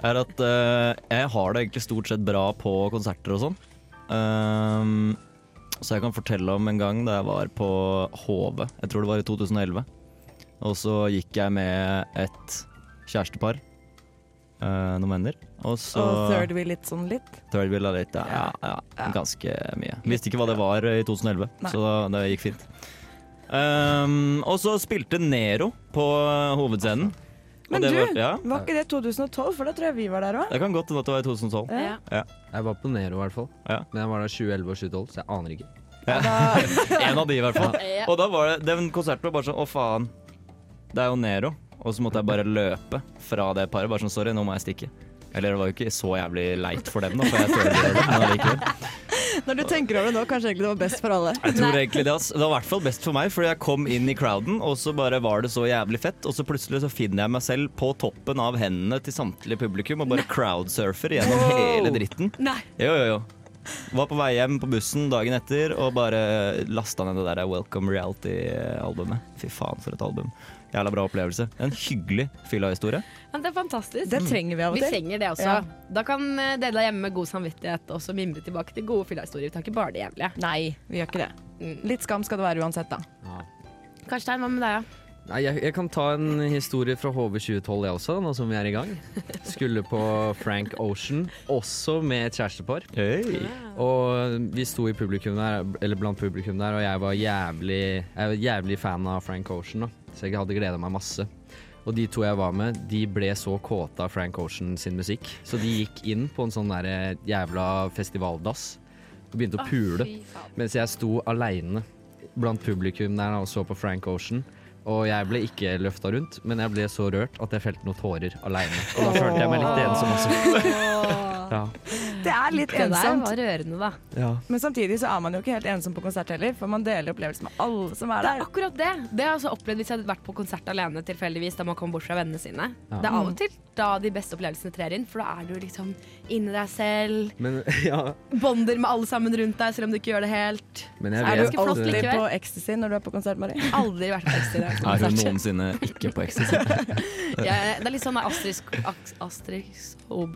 S4: er at eh, jeg har det egentlig stort sett bra på konserter og sånn. Ehm, så jeg kan fortelle om en gang da jeg var på HV, jeg tror det var i 2011. Og så gikk jeg med et kjærestepar. eh, noen venner. Og så
S6: Og third wheel litt sånn litt.
S4: Third wheel er litt, ja, ja, ja. Ganske mye. Visste ikke hva det var i 2011, så da, det gikk fint. Ehm, og så spilte Nero på eh, hovedscenen. Og
S6: Men
S4: det
S6: du,
S4: var, ja.
S6: var ikke det 2012? For da tror jeg vi var der òg.
S4: Det kan godt hende at det var i 2012.
S6: Ja.
S5: Jeg var på Nero i hvert fall. Men jeg var der 2011 og 2012, så jeg aner ikke.
S4: en av de, i hvert fall.
S5: Ja.
S4: Og da var det, den konserten var bare sånn Å, faen. Det er jo Nero. Og så måtte jeg bare løpe fra det paret. Bare sånn, sorry, nå må jeg stikke. Eller det var jo ikke så jævlig leit for dem, da, for jeg tør ikke gjøre det. Men allikevel.
S6: Når du tenker over det nå, kanskje egentlig det var best for alle.
S4: Jeg tror egentlig det, ass. det var i hvert fall best for meg, fordi jeg kom inn i crowden, og så bare var det så jævlig fett, og så plutselig så finner jeg meg selv på toppen av hendene til samtlige publikum og bare crowdsurfer gjennom
S11: Wow.
S4: hele dritten. Jo, jo, jo. Var på vei hjem på bussen dagen etter og bare lasta ned det der Welcome Reality-albumet. Fy faen, for et album. Jævla bra opplevelse. En hyggelig fylla-historie.
S3: Men det er fantastisk.
S4: Det trenger
S6: vi av og til.
S3: Vi trenger det også.
S6: Ja.
S3: Da kan eh, dere der hjemme med god samvittighet også mimre tilbake til gode fyllahistorier. Vi tar ikke bare det jævlige.
S6: Nei, vi gjør ikke det.
S3: Mm.
S6: Litt skam skal det være uansett, da.
S3: Karstein, hva med deg? da?
S5: Nei, jeg, jeg kan ta en historie fra HV 2012 jeg også, nå som vi er i gang. Skulle på Frank Ocean, også med et kjærestepar. Og vi sto i publikum der, eller blant publikum der, og jeg var jævlig, jeg var jævlig fan av Frank Ocean, da. så jeg hadde gleda meg masse. Og de to jeg var med, de ble så kåte av Frank Ocean sin musikk, så de gikk inn på en sånn der jævla festivaldass og begynte å
S12: Å,
S5: pule
S12: fy faen.
S5: mens jeg sto aleine blant publikum der og så på Frank Ocean. Og jeg ble ikke løfta rundt, men jeg ble så rørt at jeg felte noen tårer aleine. Og da følte jeg meg litt ensom også. Ja.
S6: Det er litt
S3: Det der
S6: ensomt.
S3: var rørende, da.
S5: ja.
S6: Men samtidig så er man jo ikke helt ensom på konsert heller, for man deler opplevelser med alle som er
S3: Det er
S6: der.
S3: akkurat det. Det har jeg også opplevd hvis jeg hadde vært på konsert alene tilfeldigvis, da man kommer bort fra vennene sine.
S5: Ja.
S3: Det er av og til da de beste opplevelsene trer inn, for da er du liksom inni deg selv.
S5: Men, ja.
S3: Bonder med alle sammen rundt deg, selv om du ikke gjør det helt.
S5: Men jeg
S3: Så er det
S5: vet
S3: ganske flott
S5: at-
S6: Alltid
S3: likevel.
S6: på ecstasy når du er på konsert, Mari.
S3: Aldri vært på ecstasy. der.
S4: Er hun noensinne ikke på ecstasy?
S3: Jeg, det er litt sånn Astrid, Astrix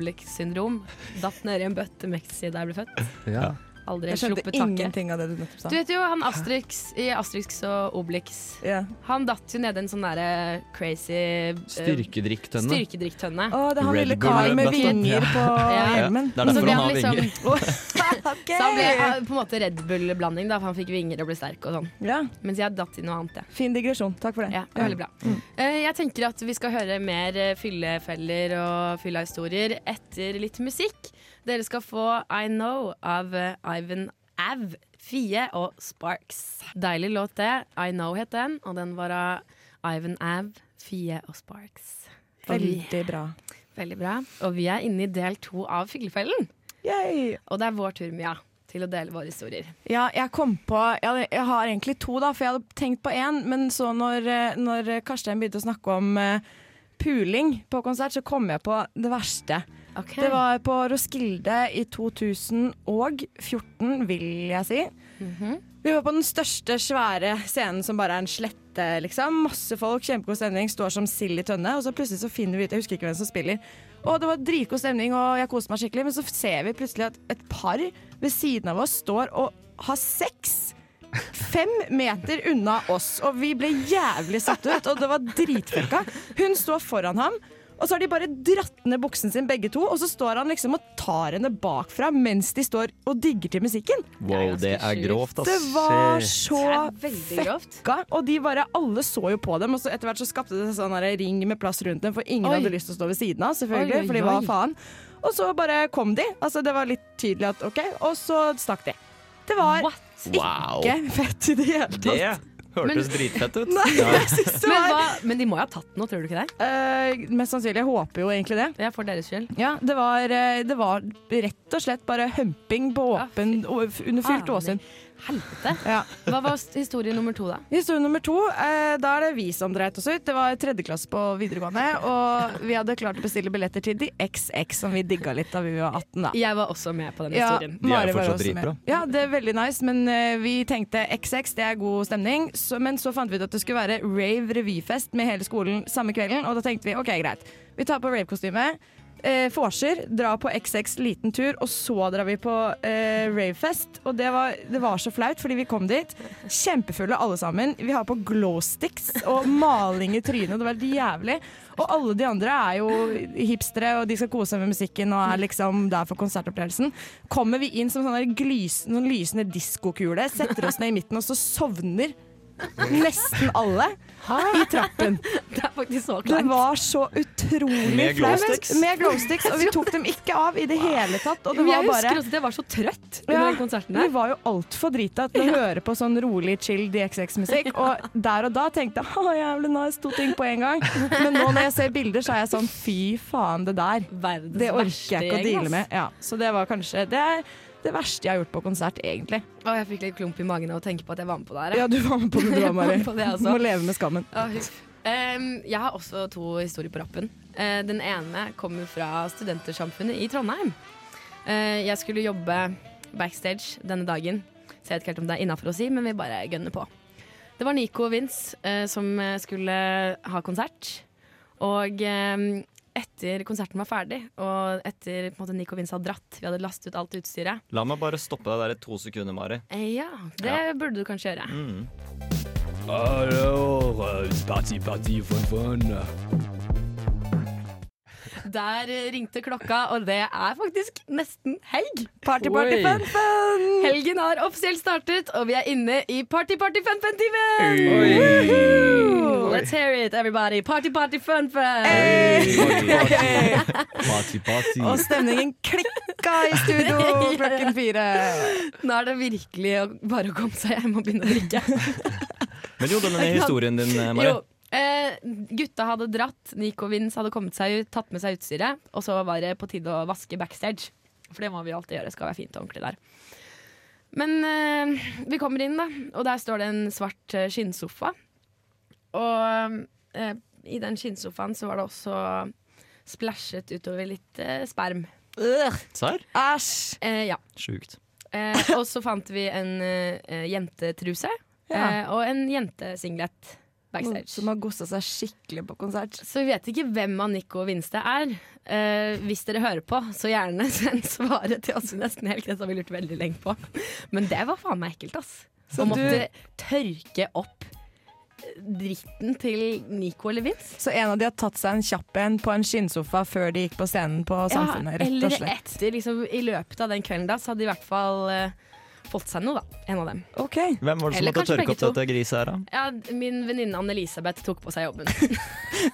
S3: Obelix-syndrom. Datt ned i en bøtte med ecstasy da jeg ble født.
S5: Ja.
S3: Aldri
S6: Jeg skjønte
S3: sluppet taket.
S6: ingenting av det du nettopp sa.
S3: Du vet jo han Astrix i Astrix og Obelix. Han datt jo ned i en sånn derre crazy eh,
S5: Styrkedrikktønne.
S3: Styrkedrikktønne.
S6: Å, det er han
S5: Red lille karen Bull med Bull, vinger ja. på hjelmen. Det er
S3: Og så
S5: derfor
S3: ble liksom-
S5: han har vinger.
S3: Så han ble eh, på en måte Red Bull-blanding, da, for han fikk vinger og ble sterk og sånn. Mens jeg datt i noe annet, jeg.
S6: Fin digresjon. Takk for det.
S3: Ja, det var veldig bra.
S5: Mm.
S3: Eh, Jeg tenker at vi skal høre mer eh, fyllefeller og fyllahistorier etter litt musikk. Dere skal få I Know av eh, Ivan Av, Fie og Sparks. Deilig låt det. I Know het den, og den var av Ivan Av, Fie og Sparks. Og vi-
S6: Veldig bra.
S3: Veldig bra. Og vi er inne i del to av Fyllefellen. Og det er vår tur, Mia, til å dele våre historier.
S6: Ja, jeg kom på jeg, hadde, jeg har egentlig to, da, for jeg hadde tenkt på én. Men så når, eh, når Karstein begynte å snakke om eh, puling på konsert, så kom jeg på det verste. Det var på Roskilde i 2014, vil jeg si. Vi var på den største, svære scenen som bare er en slette, liksom. Masse folk, kjempegod stemning, står som sild i tønne. Og så plutselig så finner vi ut, jeg husker ikke hvem som spiller. Og det var dritgod stemning, og jeg koste meg skikkelig. Men så ser vi plutselig at et par ved siden av oss står og har sex. Fem meter unna oss, og vi ble jævlig satt ut, og det var dritfucka. Hun står foran ham, og så har de bare dratt ned buksen sin begge to, og så står han liksom og tar henne bakfra mens de står og digger til musikken.
S4: Wow, det er grovt, ass.
S6: Det var
S4: Shit.
S6: så fekka, og de bare, alle så jo på dem. Og så etter hvert så skapte det seg sånn her ring med plass rundt dem, for ingen
S7: Oi.
S6: hadde lyst til å stå ved siden av, selvfølgelig,
S7: Oi, oi,
S6: fordi hva
S7: oi.
S6: faen. Og så bare kom de. Altså, det var litt tydelig at OK, og så stakk de. Det var
S4: Wow.
S6: ikke fett i det hele tatt.
S4: Det
S6: Men-
S4: hørtes dritfett ut.
S6: Nei,
S4: Ja.
S6: jeg synes det
S3: Men
S6: var
S3: hva- Men de må jo ha tatt noe, tror du ikke det?
S6: Eh, mest sannsynlig. Jeg håper jo egentlig det.
S3: Ja, For deres skyld.
S6: Ja, det var, eh, det var rett og slett bare humping på åpen, og- under fylt åsyn.
S3: Helvete.
S6: Ja.
S3: Hva var s- historie nummer to, da?
S6: Historie nummer to, eh, da er det vi som dreit oss ut. Det var tredje klasse på videregående, og vi hadde klart å bestille billetter til de XX, som vi digga litt da vi var 18, da.
S3: Jeg var også med på den
S6: Ja,
S3: historien.
S6: Mari var også med. Ja, det er veldig nice, men eh, vi tenkte XX, det er god stemning. Så, men så fant vi ut at det skulle være rave revyfest med hele skolen samme kvelden, og da tenkte vi OK, greit. Vi tar på ravekostyme. eh, vorser, dra på XX liten tur, og så drar vi på eh, ravefest. Og det var, det var så flaut, fordi vi kom dit kjempefulle alle sammen. Vi har på glowsticks og maling i trynet, det var helt jævlig. Og alle de andre er jo hipstere, og de skal kose seg med musikken og er liksom der for konsertopplevelsen. Kommer vi inn som sånne glys, noen lysende diskokule, setter oss ned i midten, og så sovner nesten alle i trappen.
S3: Det er faktisk så
S6: Det var så utrolig
S3: Med
S6: flaut.
S3: glowsticks?
S6: Med glowsticks. Og vi tok dem ikke av i det hele tatt. Og det
S3: Men jeg
S6: var bare
S3: husker også, det var så trøtt under
S6: ja,
S3: den konserten
S6: vi
S3: der.
S6: var jo altfor drita til å høre på sånn rolig, chill DXX-musikk. Og der og da tenkte jeg å, jævlig nice, to ting på en gang. Men nå når jeg ser bilder, så er jeg sånn fy faen, det der. det orker
S3: verste
S6: jeg ikke å
S3: gjeng, ass.
S6: deale med. Ja, så det var kanskje det, er det verste jeg har gjort på konsert, egentlig.
S3: Å, jeg fikk litt klump i magen av å tenke på at jeg var med på det her. jeg.
S6: Ja, du var med på det, du
S3: Jeg
S6: var, Mari.
S3: på det, altså.
S6: Må leve med skammen.
S3: Ja, huff. Em, jeg har også to historier på rappen. Eh, den ene kommer fra Studentersamfunnet i Trondheim. Eh, jeg skulle jobbe backstage denne dagen, så jeg vet ikke helt om det er innafor å si, men vi bare gønner på. Det var Nico og Vince eh, som skulle ha konsert. Og em, etter konserten var ferdig, og etter på en måte, Nico og Vince hadde dratt, vi hadde lastet ut alt utstyret
S4: La meg bare stoppe deg der i to sekunder, Mari.
S3: eh, Ja, det burde du kanskje gjøre.
S4: Mm.
S10: Alors, euh, c'est parti, parti, fun, fun.
S3: Der eh, ringte klokka, og det er faktisk nesten helg.
S6: Party, party, Oi. fun, fun!
S3: Helgen har offisielt startet, og vi er inne i party, party, fun, fun-timen!
S6: Oi.
S3: Woohoo! Let's hear it, everybody. Party, party, fun, fun!
S5: Party, party.
S6: Og stemningen klikka i studio klokken fire.
S3: Nå er det virkelig å- bare å komme seg hjem og begynne å drikke.
S4: Men jo, denne historien din, eh, Mari.
S3: Jo, eh, gutta hadde dratt, Nico og Vince hadde kommet seg ut, tatt med seg utstyret, og så var det på tide å vaske backstage. For det må vi alltid gjøre, skal være fint og ordentlig der. Men eh, vi kommer inn, da, og der står det en svart eh, skinnsofa. Og eh, i den skinnsofaen så var det også splæsjet utover litt eh, sperm.
S4: Serr?
S6: Æsj!
S3: Eh, ja.
S4: Sjukt.
S3: Eh, og så fant vi en eh, jentetruse
S6: Ja.
S3: eh, og en jentesinglet backstage.
S6: Som har gossa seg skikkelig på konsert.
S3: Så vi vet ikke hvem av Nico og Vinste er. Eh, hvis dere hører på, så gjerne send svaret til oss i nesten helt. Det har vi lurt veldig lenge på. Men det var faen meg ekkelt, ass.
S6: Så
S3: Å
S6: du-
S3: måtte tørke opp dritten til Nico eller Vince.
S6: Så en av de har tatt seg en kjapp en på en skinnsofa før de gikk på scenen på Samfunnet, rett og
S3: eller
S6: slett.
S3: etter, liksom, i løpet av den kvelden da, så hadde de i hvert fall eh, fått seg noe, da. En av dem.
S4: Hvem var det som
S3: Eller
S4: måtte
S3: kanskje
S4: tørke
S3: begge
S4: opp dette griset her, da?
S3: Ja, min venninne Anne-Elisabeth tok på seg jobben.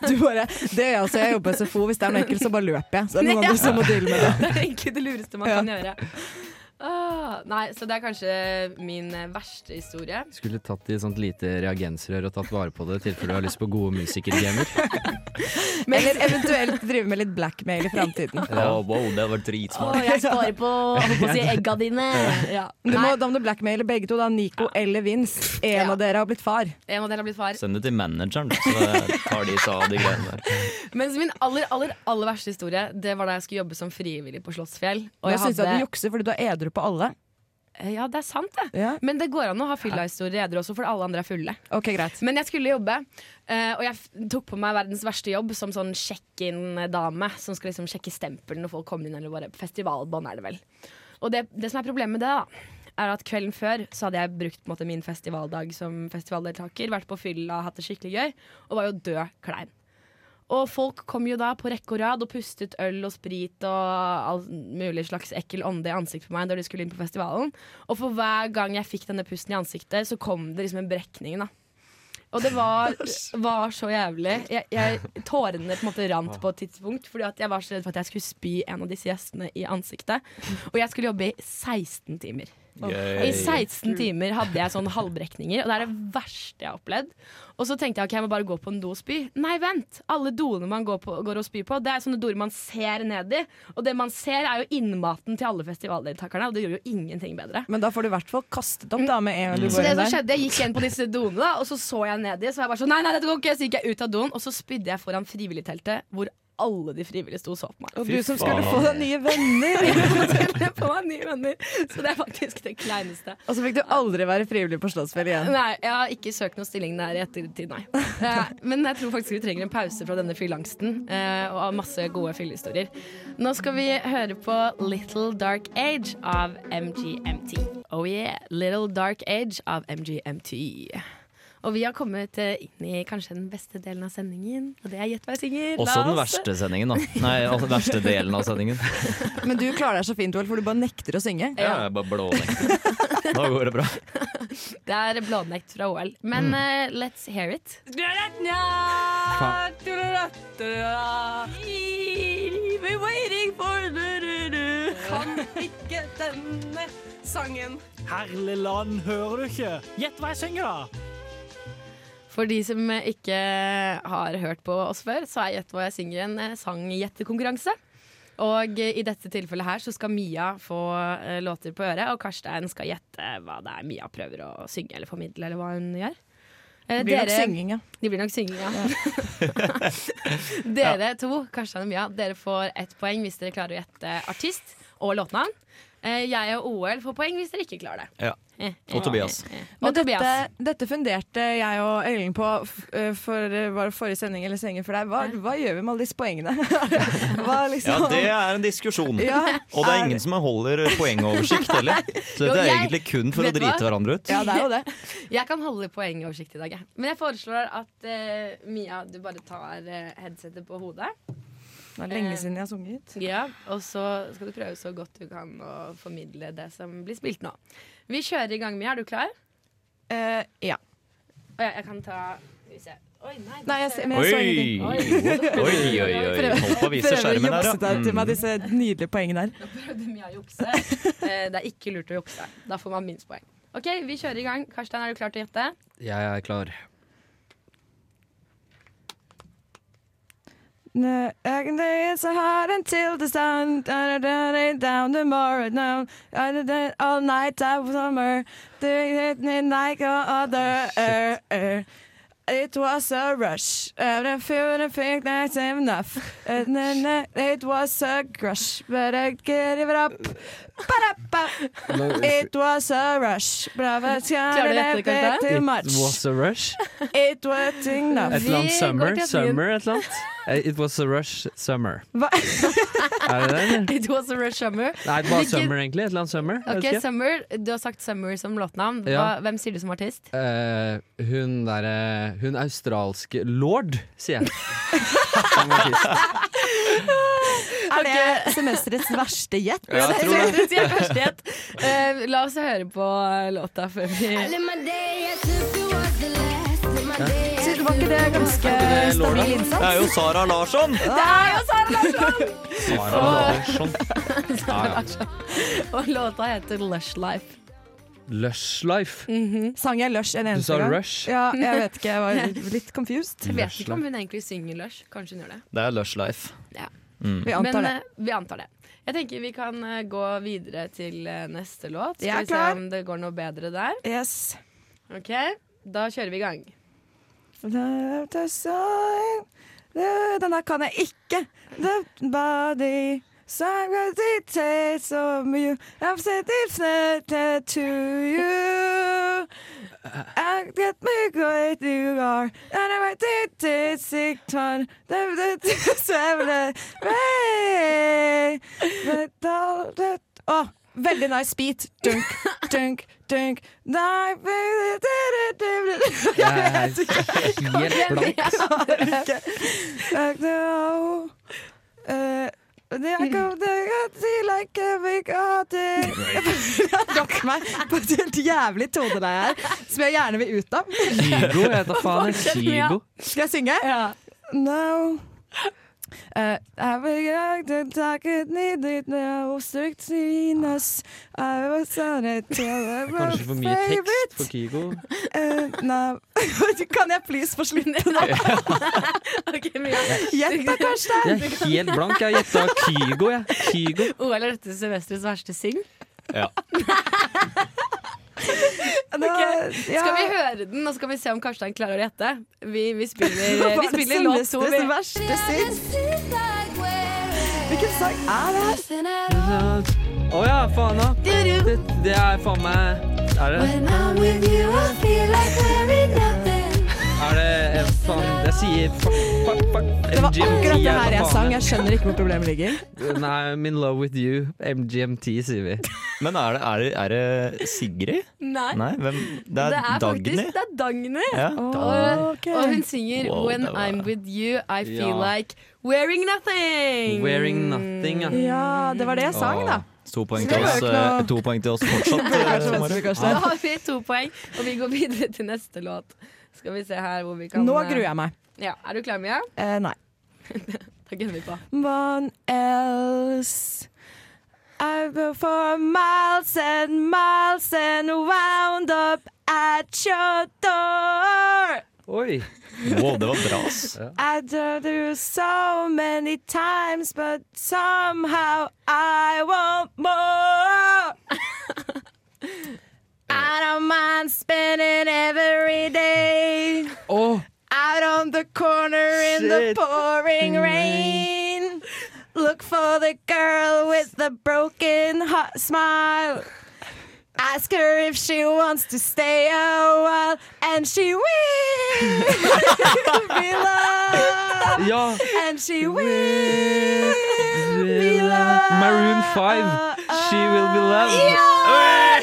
S6: Du bare, det gjør jeg også, jeg jobber på SFO. Hvis det er noe ekkelt, så bare løper jeg. Så er det noen
S3: Ja.
S6: andre som må deale med det.
S3: Det er egentlig det lureste man
S6: Ja.
S3: kan gjøre. Ah, nei, så det er kanskje min eh, verste historie.
S5: Skulle tatt i sånt lite reagensrør og tatt vare på det i tilfelle du har lyst på gode musikergamer.
S6: Eller eventuelt drive med litt blackmail i framtiden.
S4: Å, wow, det var dritsmart.
S3: jeg sparer på holdt på å si egga dine. Ja.
S6: Du må, da må du blackmaile begge to, da. Nico eller Vince. En av dere har blitt far.
S3: En av dere har blitt far.
S4: Send det til manageren, du, så tar de seg av de greiene der.
S3: Mens min aller aller, aller verste historie Det var da jeg skulle jobbe som frivillig på Slottsfjell.
S6: Og jeg syns
S3: hadde-
S6: du jukser fordi du er edru på alle.
S3: Eh, Ja, det er sant, det.
S6: Ja.
S3: Men det går an å ha fyllahistorier edru også, for alle andre er fulle.
S6: Ok, greit
S3: Men jeg skulle jobbe, eh, og jeg f- tok på meg verdens verste jobb som sånn sjekk-inn-dame. Som skal liksom sjekke stempel når folk kommer inn, eller bare festivalbånd, er det vel. Og det, det som er problemet med det, da, er at kvelden før så hadde jeg brukt på en måte, min festivaldag som festivaldeltaker. Vært på fylla, hatt det skikkelig gøy, og var jo død klein. Og folk kom jo da på rekke og rad og pustet øl og sprit og all mulig slags ekkel ånde i ansiktet på meg da de skulle inn på festivalen. Og for hver gang jeg fikk denne pusten i ansiktet, så kom det liksom en brekning, da. Og det var, var så jævlig. Jeg, jeg, tårene på en måte rant på et tidspunkt, fordi at jeg var så redd for at jeg skulle spy en av disse gjestene i ansiktet. Og jeg skulle jobbe i 16 timer.
S4: Yay.
S3: I 16 timer hadde jeg sånn halvbrekninger, og det er det verste jeg har opplevd. Og så tenkte jeg ok, jeg må bare gå på en do og spy. Nei, vent! Alle doene man går, på, går og spyr på, det er sånne doer man ser ned i. Og det man ser, er jo innmaten til alle festivaldeltakerne, og det gjør jo ingenting bedre.
S6: Men da får du i hvert fall kastet opp da med en gang du
S3: Så
S6: går
S3: det
S6: inn
S3: som
S6: der.
S3: skjedde, Jeg gikk igjen på disse doene, da, og så så jeg nedi. Så var jeg bare sånn, nei, nei, dette går ikke Så gikk jeg ut av doen, og så spydde jeg foran frivilligteltet, hvor alle de frivillige sto og så på meg.
S6: Og du som skulle få deg nye venner.
S3: skulle få meg nye venner. Så det er faktisk det kleineste.
S6: Og så fikk du aldri være frivillig på Slottsfjell igjen.
S3: Nei, jeg har ikke søkt noen stilling der i ettertid, nei. Eh, Men jeg tror faktisk vi trenger en pause fra denne fyllangsten eh, og av masse gode fyllehistorier. Nå skal vi høre på Little Dark Age av MGMT. Oh yeah, Little Dark Age av MGMT. Og vi har kommet eh, inn i kanskje den beste delen av sendingen, og det er Gjett hva jeg synger.
S4: Også
S3: La
S4: den
S3: oss-
S4: verste sendingen, da. Nei, altså den verste delen av sendingen.
S6: Men du klarer deg så fint, Joel, for du bare nekter å synge.
S3: Eh,
S4: Ja, jeg bare blånekter. Nå går det bra.
S3: Det er blånekt fra OL. Men
S4: Mm.
S3: eh, let's hear it.
S6: Kan ikke denne sangen.
S11: Herlig land, hører du ikke? Gjett hva jeg synger, da!
S3: For de som ikke har hørt på oss før, så er Gjett hva jeg synger en eh, sanggjettekonkurranse. Og eh, i dette tilfellet her så skal Mia få eh, låter på øret, og Karstein skal gjette hva det er Mia prøver å synge eller formidle, eller hva hun gjør. Eh,
S6: Det blir nok synging, ja.
S3: Det blir nok synging, ja. dere to, Karstein og Mia, dere får ett poeng hvis dere klarer å gjette artist og låtnavn. Eh, Jeg og OL får poeng hvis dere ikke klarer det.
S4: Ja.
S3: Eh, eh,
S4: Og Tobias.
S3: eh, eh.
S6: Men
S3: Og Tobias.
S6: dette, dette funderte jeg og Elling på f- eh, for eh, var det forrige sending eller sendingen for deg. Hva, hva gjør vi med alle disse poengene? hva
S4: Ja,
S6: liksom
S4: det er en diskusjon.
S6: Ja.
S4: Og det er ingen som holder poengoversikt heller. Så
S3: Jo,
S4: dette er
S3: jeg-
S4: egentlig kun for å
S3: vet du hva?
S4: drite hverandre ut.
S3: Jeg kan holde poengoversikt i dag. jeg. Men jeg foreslår at eh, Mia, du bare tar eh, headsetet på hodet.
S6: Det er lenge siden jeg har sunget.
S3: Ja, Og så skal du prøve så godt du kan å formidle det som blir spilt nå. Vi kjører i gang, Mia. Er du klar?
S6: Eh, ja.
S3: Å ja, jeg kan ta Skal vi se. Oi, nei.
S6: Nei, jeg, ser- men jeg så ingenting.
S4: Oi, oi, oi, oi. Holdt på å vise skjermen
S6: Prøver å
S4: her,
S6: jukse deg til meg
S4: ja.
S6: disse nydelige poengene her.
S3: Nå prøvde Mia å jukse. Eh, det er ikke lurt å jukse. Da får man minst poeng. OK, vi kjører i gang. Karstein, er du klar til å gjette?
S5: Jeg er klar.
S6: No, I can do it so hard until the sun da, da, da, da, down tomorrow now. I did it all night time summer doing it like no other er, er. It was a rush and I feel the thing that's enough and then uh, it was a crush but I can't give it up Ba-da-ba. It was a rush but I was
S3: Klarer du dette, Karstein?
S6: too much
S5: It was a rush.
S6: It was
S5: Et
S6: enough
S5: eller annet summer. Summer, et eller annet. Eh, It was a rush summer.
S6: Hva?
S5: Er det det, eller?
S3: It was a rush summer.
S5: Nei, det var
S3: Hvilket-
S5: summer, egentlig. Et eller annet summer. Jeg
S3: Ok,
S5: vet ikke.
S3: Summer. Du har sagt Summer som låtnavn.
S5: Ja.
S3: Hva, hvem sier du som artist?
S5: Eh, hun derre Hun australske Lord, sier jeg. Som artist.
S6: Er det semesterets verste gjett?
S5: Ja, jeg tror det.
S3: Du sier første gjett. Eh, la oss høre på eh, låta før vi
S6: Synes du var ikke det ganske stabil
S4: Det
S6: innsats?
S4: er jo Sara Larsson!
S3: Det er jo Sara Larsson!
S4: Sara
S3: Larsson.
S5: Ja, ja.
S3: Og låta heter Lush Life.
S5: Lush life.
S6: Mm. Sang jeg Lush en eneste
S5: sa
S6: gang?
S5: Rush?
S6: Ja, jeg vet ikke, jeg var litt confused.
S3: Jeg vet ikke om hun egentlig synger Lush. Kanskje hun gjør det.
S4: Det er Lush Life.
S3: Ja.
S4: Mm.
S6: Vi antar
S3: Men
S6: det.
S3: eh, vi antar det. Jeg tenker vi kan eh, gå videre til eh, neste låt.
S6: Jeg
S3: Skal vi
S6: er
S3: se
S6: klar.
S3: om det går noe bedre der.
S6: Yes.
S3: Ok, da kjører vi i gang.
S6: Den her kan jeg ikke. The body Sometimes it takes of you I've said it's not to you I get me great you are And I might take it sick turn Åh, veldig nice beat Dunk, dunk, dunk Nei, baby, du, du, du, du. Jeg vet ikke
S5: Helt blank.
S6: Jeg klarer ikke. Like now, eh, they are come, they are see like a big hearted. Jeg rakk meg på et helt jævlig toneleie her, som jeg gjerne vil ut av.
S5: Kygo, jeg vet da faen. Kygo.
S6: Skal jeg synge? No. Uh, I forgot to talk it needed now strict seen us I was on it till I was
S5: Kanskje for mye
S6: favorite.
S5: tekst for Kygo.
S6: Eh, nei Kan jeg please få slutte? Gjett da,
S5: Jeg
S6: Karstein!
S5: er helt blank. Jeg gjetta Kygo, jeg. Kygo.
S3: OL er dette semesterets verste syng.
S4: Ja.
S6: Det
S13: da
S3: Ok.
S13: ja.
S3: Skal vi høre den, og så kan vi se om Karstein klarer å gjette? Vi, vi spiller, vi spiller låt to. vi.
S13: Hvilken sang er det her?
S5: Å ja, faen da. Det, det er faen meg Er det Er det eh, faen Jeg sier fuck, fuck, fuck.
S6: Det var akkurat det her jeg sang. Jeg
S5: Jeg
S6: skjønner ikke hvor problemet ligger.
S5: Nei, I'm in love with you. MGMT, sier vi.
S4: Men er det, er det, er det Sigrid?
S3: Nei.
S4: hvem? Det er, Dagny.
S3: Faktisk, det er Dagny.
S4: Ja.
S3: Og,
S4: Ok.
S3: og hun synger
S4: Wow,
S3: When
S4: det var-
S3: I'm with you, I feel
S4: Ja.
S3: like wearing nothing.
S4: Wearing nothing, ja.
S13: Ja, det var det jeg sang, da.
S4: Åh, To poeng
S3: Så
S4: til
S3: det var
S4: oss,
S3: jo ikke noe-
S4: eh, to poeng til oss fortsatt.
S3: Det
S4: eh,
S3: er
S4: Mari.
S3: Da har vi to poeng, og vi går videre til neste låt. Skal vi se her hvor vi kan
S6: Nå gruer jeg meg.
S3: Ja, Er du klar, Mia?
S6: Eh, nei.
S3: Da gunner vi på.
S6: One else I go for miles and miles and wound up at your door.
S5: Oi.
S4: Wow, det var bra, ass.
S6: I told you so many times, but somehow I want more. I don't mind spending every day
S5: oh.
S6: out on the corner in the
S13: Shit.
S6: pouring
S13: Mm.
S6: rain. Look for the girl with the broken heart smile. Ask her if she wants to stay a while, and she will be loved.
S5: Ja.
S6: And she will be loved.
S5: Maroon 5. She will be loved.
S6: Ja!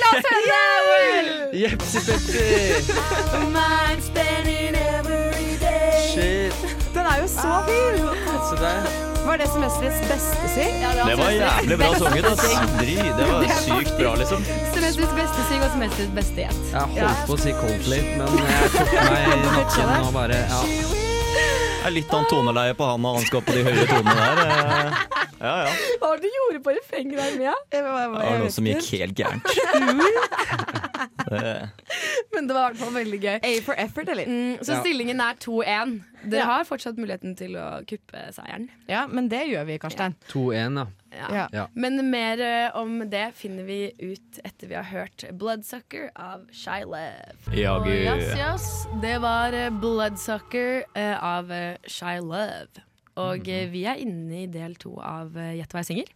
S6: La oss høre
S5: Oi. Jepsi Pepsi.
S6: Mind spending every day. Ah.
S5: Shit.
S6: Den er jo så fin!
S5: Se der.
S6: Var det semesterets beste syng?
S4: Det var jævlig bra sunget, ass. Dri, det var sykt bra, liksom.
S3: Semesterets beste syng og semesterets beste gjett.
S5: Jeg holdt på å si Coldplay, men jeg tok meg i nakken og bare ja.
S4: Det er litt annen toneleie på han, og han skal på de høye tonene der. eh. Ja, ja.
S3: Hva var det du gjorde på refrenget der, Mia?
S4: Det var noe som gikk helt gærent. Det-
S3: Men det var i hvert fall veldig gøy.
S6: A for effort, eller?
S3: Mm, så
S6: Ja.
S3: stillingen er 2-1. Dere
S6: Ja.
S3: har fortsatt muligheten til å kuppe seieren.
S6: Ja, men det gjør vi, Karstein.
S5: 2-1,
S3: Ja.
S5: ja. ja.
S3: Men mer eh, om det finner vi ut etter vi har hørt 'Bloodsucker' av Shylef.
S5: Ja,
S3: Og
S5: gud.
S3: Yes, yes. Det var eh, 'Bloodsucker' eh, av eh, Shylef. Og eh, vi er inne i del to av eh, Gjett hva jeg synger.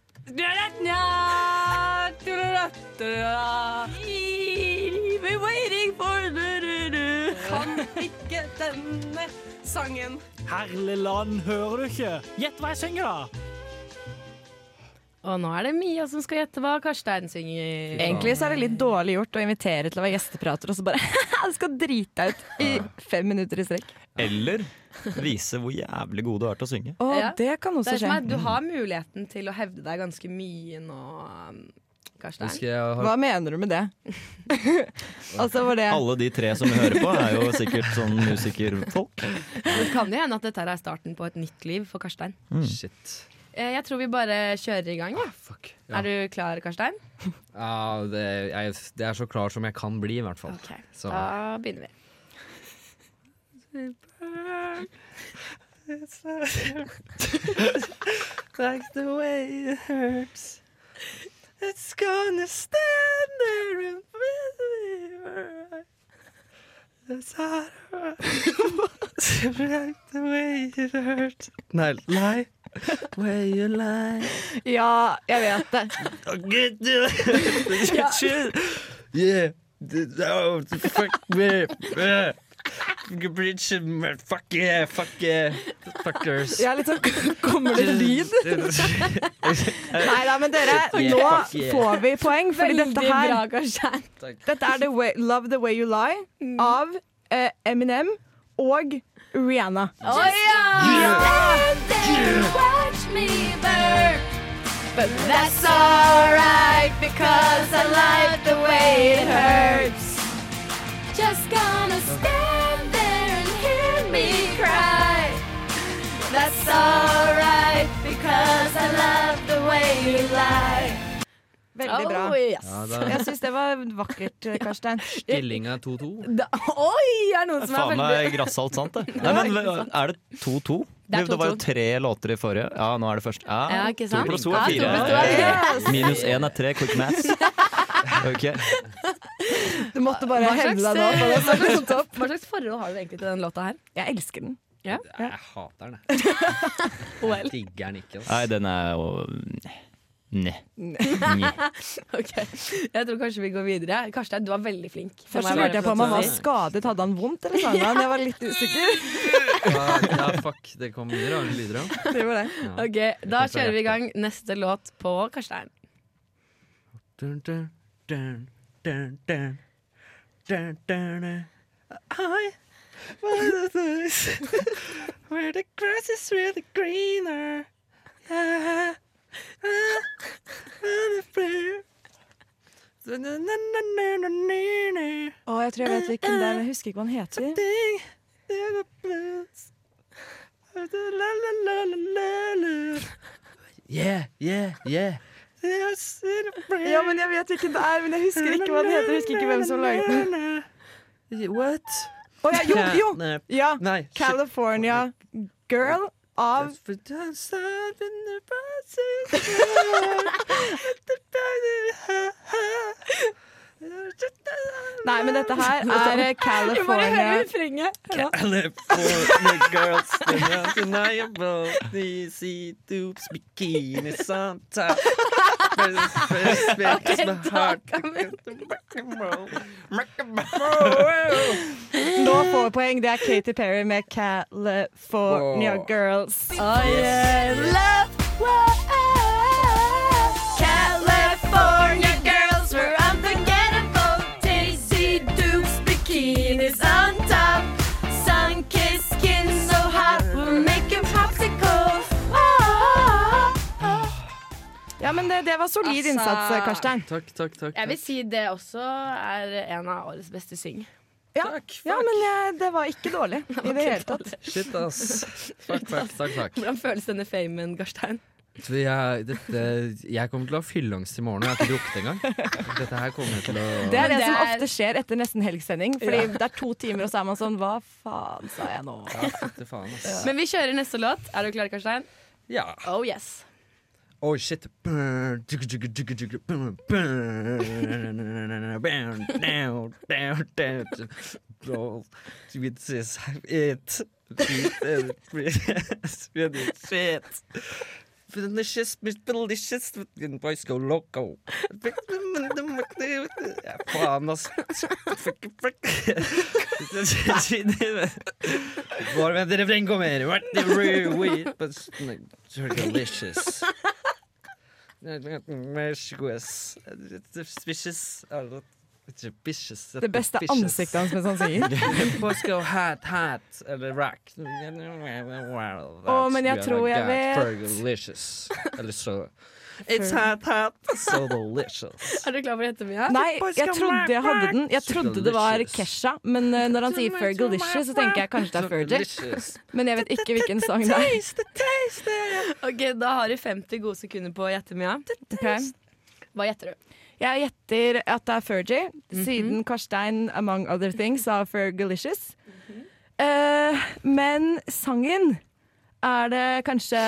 S13: We're waiting for Kan ikke denne sangen.
S14: Herlig land, hører du ikke? Gjett hva jeg synger, da!
S3: Og nå er det Mia som skal gjette hva Karstein synger.
S6: Egentlig så er det litt dårlig gjort å invitere til å være gjesteprater, og så bare Du skal drite deg ut i fem minutter i strekk.
S4: Eller vise hvor jævlig god du er til å synge.
S6: Å, det kan også
S3: Det er som
S6: skje.
S3: at Du har muligheten til å hevde deg ganske mye nå, um, Karstein.
S4: Husker jeg har-
S6: Hva mener du med det? altså, var det
S4: Alle de tre som vi hører på, er jo sikkert sånn musikerfolk.
S3: Det kan jo hende at dette her er starten på et nytt liv for Karstein.
S5: Shit.
S3: Eh, Jeg tror vi bare kjører i gang. Ja.
S5: ja.
S3: Er du klar, Karstein?
S5: Ja, det, jeg, det er så klar som jeg kan bli, i hvert fall. Så.
S3: Da begynner vi.
S15: like the way it hurts. It's gonna stand there and whisper. It's hard. like the way it hurts.
S5: Nei,
S15: Lie. Way you lie.
S6: Ja, jeg vet det.
S15: Oh, Yeah. yeah. Oh, fuck me. Yeah. Bridge and fuck yeah, fuck yeah. Fuckers.
S6: Ja, litt sånn Kommer det lyd? Nei da, men dere,
S15: Fuck yeah,
S6: nå
S15: fuck yeah.
S6: får vi poeng, fordi
S3: Veldig
S6: dette her
S3: bra, Karstein.
S6: Dette er the way, Love The Way You Lie av eh, Eminem og Rihanna.
S3: Å ja!
S15: Watch me burn. But
S13: That's alright, because I like the way it hurts.
S15: Just gonna stand there and hear me cry.
S13: That's alright, because I love the way you lie.
S6: Veldig bra.
S3: Oh, yes.
S5: Ja, da-
S6: Jeg syns det var vakkert, Karstein.
S5: Stillinga 2-2.
S3: Da, oi, er det noen som er
S4: Faen meg
S3: veldig
S4: grassalt sant, det. Nei, men er det 2-2?
S3: Det er
S4: Det var
S3: 2-2.
S4: jo tre låter i forrige. Ja, nå er det først.
S3: Ja, ikke sant?
S4: To pluss to
S3: Ja,
S4: er
S3: to pluss to
S4: fire.
S3: er fire.
S4: Minus én er tre. Quick maths. Ok.
S6: Du måtte bare hevne deg nå. for det
S3: hva,
S6: var
S3: slags,
S6: sånn topp.
S3: hva slags forhold har du egentlig til den låta her?
S6: Jeg elsker den.
S3: Ja.
S5: Jeg hater den, jeg.
S3: OL.
S5: Jeg digger den ikke. ass.
S4: Nei, den er jo Ne.
S3: ok, Jeg tror kanskje vi går videre. Karstein, du var veldig flink. Det må
S6: Først så
S3: bare
S6: lurte jeg
S3: få
S6: på om han
S3: lov
S6: var
S3: til å si.
S6: skadet. Hadde han vondt, eller sånn? Men jeg var litt usikker.
S5: Ja, ja, fuck. Det kom mye rare lyder av.
S6: Det var det.
S5: Ja.
S3: Ok, Da kjører vi i gang neste låt på Karstein.
S5: Dun, dun, dun, dun, dun. Dun, dun, dun. er
S16: I was where the grass is really greener.
S5: ah,
S16: Yeah. Ah, ah, the
S6: Å, jeg tror jeg vet hvilken det er, men jeg husker ikke hva han heter.
S5: Yeah, yeah, yeah.
S6: Ja, men jeg vet hvilken det er, men jeg husker ikke hva den heter. Jeg husker ikke hvem som laget den.
S5: What?
S6: Å ja, jo, jo!
S5: Nei,
S6: Ja.
S5: nei, shit.
S6: California Girl av Nei, men dette her er eh,
S16: Vi bare hører
S6: California
S3: refrenget.
S5: California girls they are undeniable. They see tubes, bikinis on top. First, first, makes my heart
S6: Nå får vi poeng. Det er Katy Perry med California Girls.
S16: Oh, yeah. Love, whoa, California girls were unforgettable. Daisy Dukes bikinis on top. Sun-kissed skin so hot, we'll make you popsicle. Oh,
S6: Ja, men det, det var solid
S3: Altså-
S6: innsats, eh, Karstein.
S5: Takk, takk, takk.
S3: Jeg vil si det også er en av årets beste syng.
S6: Ja, ja men eh, det var ikke dårlig i det hele tatt.
S5: Shit, ass. Fuck, fuck, fuck, fuck.
S3: Hvordan føles denne famen, Garstein?
S5: Du, Jeg, dette, jeg kommer til å ha fylleangst i morgen, og jeg har ikke drukket engang. Dette her kommer til å
S6: Det er det som
S3: er-
S6: ofte skjer etter nesten helgsending. Fordi
S3: Ja.
S6: det er to timer, og så er man sånn Hva faen sa jeg nå?
S5: Ja, fytti faen, ass.
S3: Men vi kjører neste låt. Er du klar, Karstein?
S5: Ja.
S3: Oh yes.
S5: Oh shit. Burn, jigga, jigga, jigga, jigga, burn, burn, burn, down, down, down. Roll. This is it. Shit. Delicious, delicious. Boys go loco. Ja, Faen, ass. Fuck, fuck. Bare vent til refrenget kommer. What the real weed, but delicious. Vicious. Eh, Vicious.
S6: Det beste er ansiktet hans mens han synger.
S5: Boys go hat, hat, eller rock.
S6: Å, men jeg tror jeg vet.
S5: Delicious. Eller så It's hot, hot, so delicious.
S3: Er du klar for ettermiddag?
S6: Nei, jeg trodde jeg hadde den. Jeg trodde det var
S5: Fergalicious.
S6: Kesha, men eh, når han sier Fergalicious, så tenker jeg kanskje det er Fergie.
S5: Fergalicious.
S6: Men jeg vet ikke hvilken sang det er.
S3: Ok, Da har du 50 gode sekunder på å gjette, Mia. Hva gjetter du?
S6: Jeg gjetter at det er Fergie, siden Karstein among other things sa Fergalicious. Eh, men sangen er det kanskje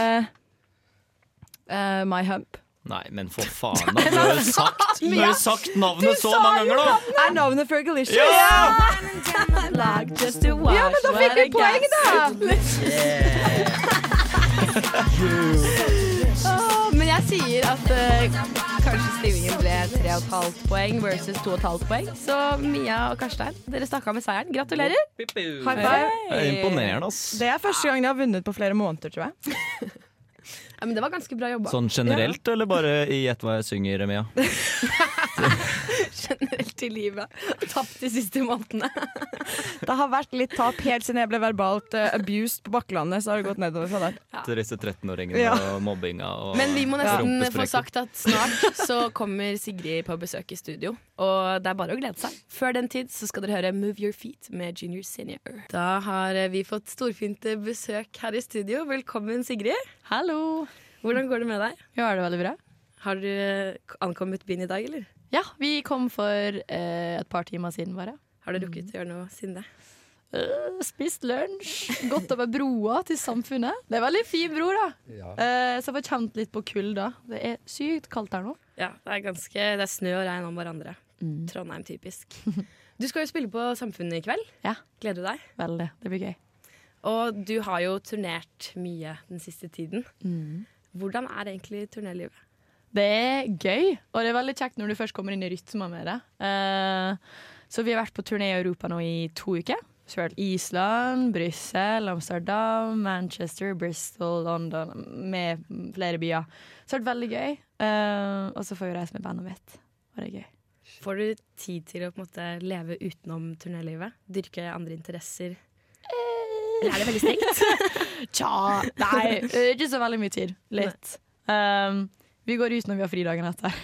S6: eh, My Hump.
S4: Nei, men for faen, da. Du har jo sagt, du har jo sagt
S6: Du
S4: navnet så
S6: sa
S4: mange
S6: jo
S4: ganger, da!
S6: navnet! Er navnet Fergalicious?
S4: Ja!
S6: Ja, men da fikk vi poeng, da!
S3: Åh, men jeg sier at eh, kanskje stillingen ble 3,5 poeng versus 2,5 poeng. Så Mia og Karstein, dere stakk av med seieren. Gratulerer.
S6: High five.
S4: Det er imponerende, ass.
S6: Det er første gang de har vunnet på flere måneder, tror jeg.
S3: Ja, men det var ganske bra jobba.
S4: Sånn generelt, eller bare i Gjett hva jeg synger, Mia?
S3: generelt i livet. Tapt de siste månedene.
S6: Det har vært litt tap helt siden jeg ble verbalt eh, abused på Bakklandet. Så har det gått nedover fra der.
S4: Til disse 13-åringene
S6: Ja.
S4: og mobbinga og
S3: Men vi må nesten få
S4: rumpesprekker.
S3: sagt at snart så kommer Sigrid på besøk i studio. Og det er bare å glede seg. Før den tid så skal dere høre Move Your Feet med Junior Senior. Da har eh, vi fått storfint eh, besøk her i studio. Velkommen, Sigrid. Hallo. Hvordan går det med deg?
S17: Jo, er det veldig bra?
S3: Har du eh, ankommet byen i dag, eller?
S17: Ja, vi kom for eh, et par timer siden bare. Mm.
S3: Har du rukket å gjøre noe siden det?
S17: Eh, spist lunsj, gått over broa til samfunnet. Det er veldig fin bro, da.
S3: Ja.
S17: Eh, så jeg får kjent litt på kulda. Det er sykt kaldt her nå.
S3: Ja, det er ganske Det er snø og regn om hverandre.
S17: Mm.
S3: Trondheim, typisk. Du skal jo spille på Samfunnet i kveld. Gleder du deg?
S17: Veldig. Det blir gøy.
S3: Og du har jo turnert mye den siste tiden.
S17: Mm.
S3: Hvordan er egentlig turnélivet?
S17: Det er gøy, og det er veldig kjekt når du først kommer inn i rytmen med det. Eh, så vi har vært på turné i Europa nå i to uker. Så vi har vært Island, Brussel, Amsterdam, Manchester, Bristol, London, med flere byer. Så det har vært veldig gøy. Eh, og så får vi reise med bandet mitt, og det er gøy.
S3: Får du tid til å på en måte leve utenom turnélivet? Dyrke andre interesser? Eller er det veldig strengt?
S6: Ah,
S17: Tja, Eh. nei, eh, ikke så veldig mye tid. Litt. Um, vi går ut når vi har fri dagen etter.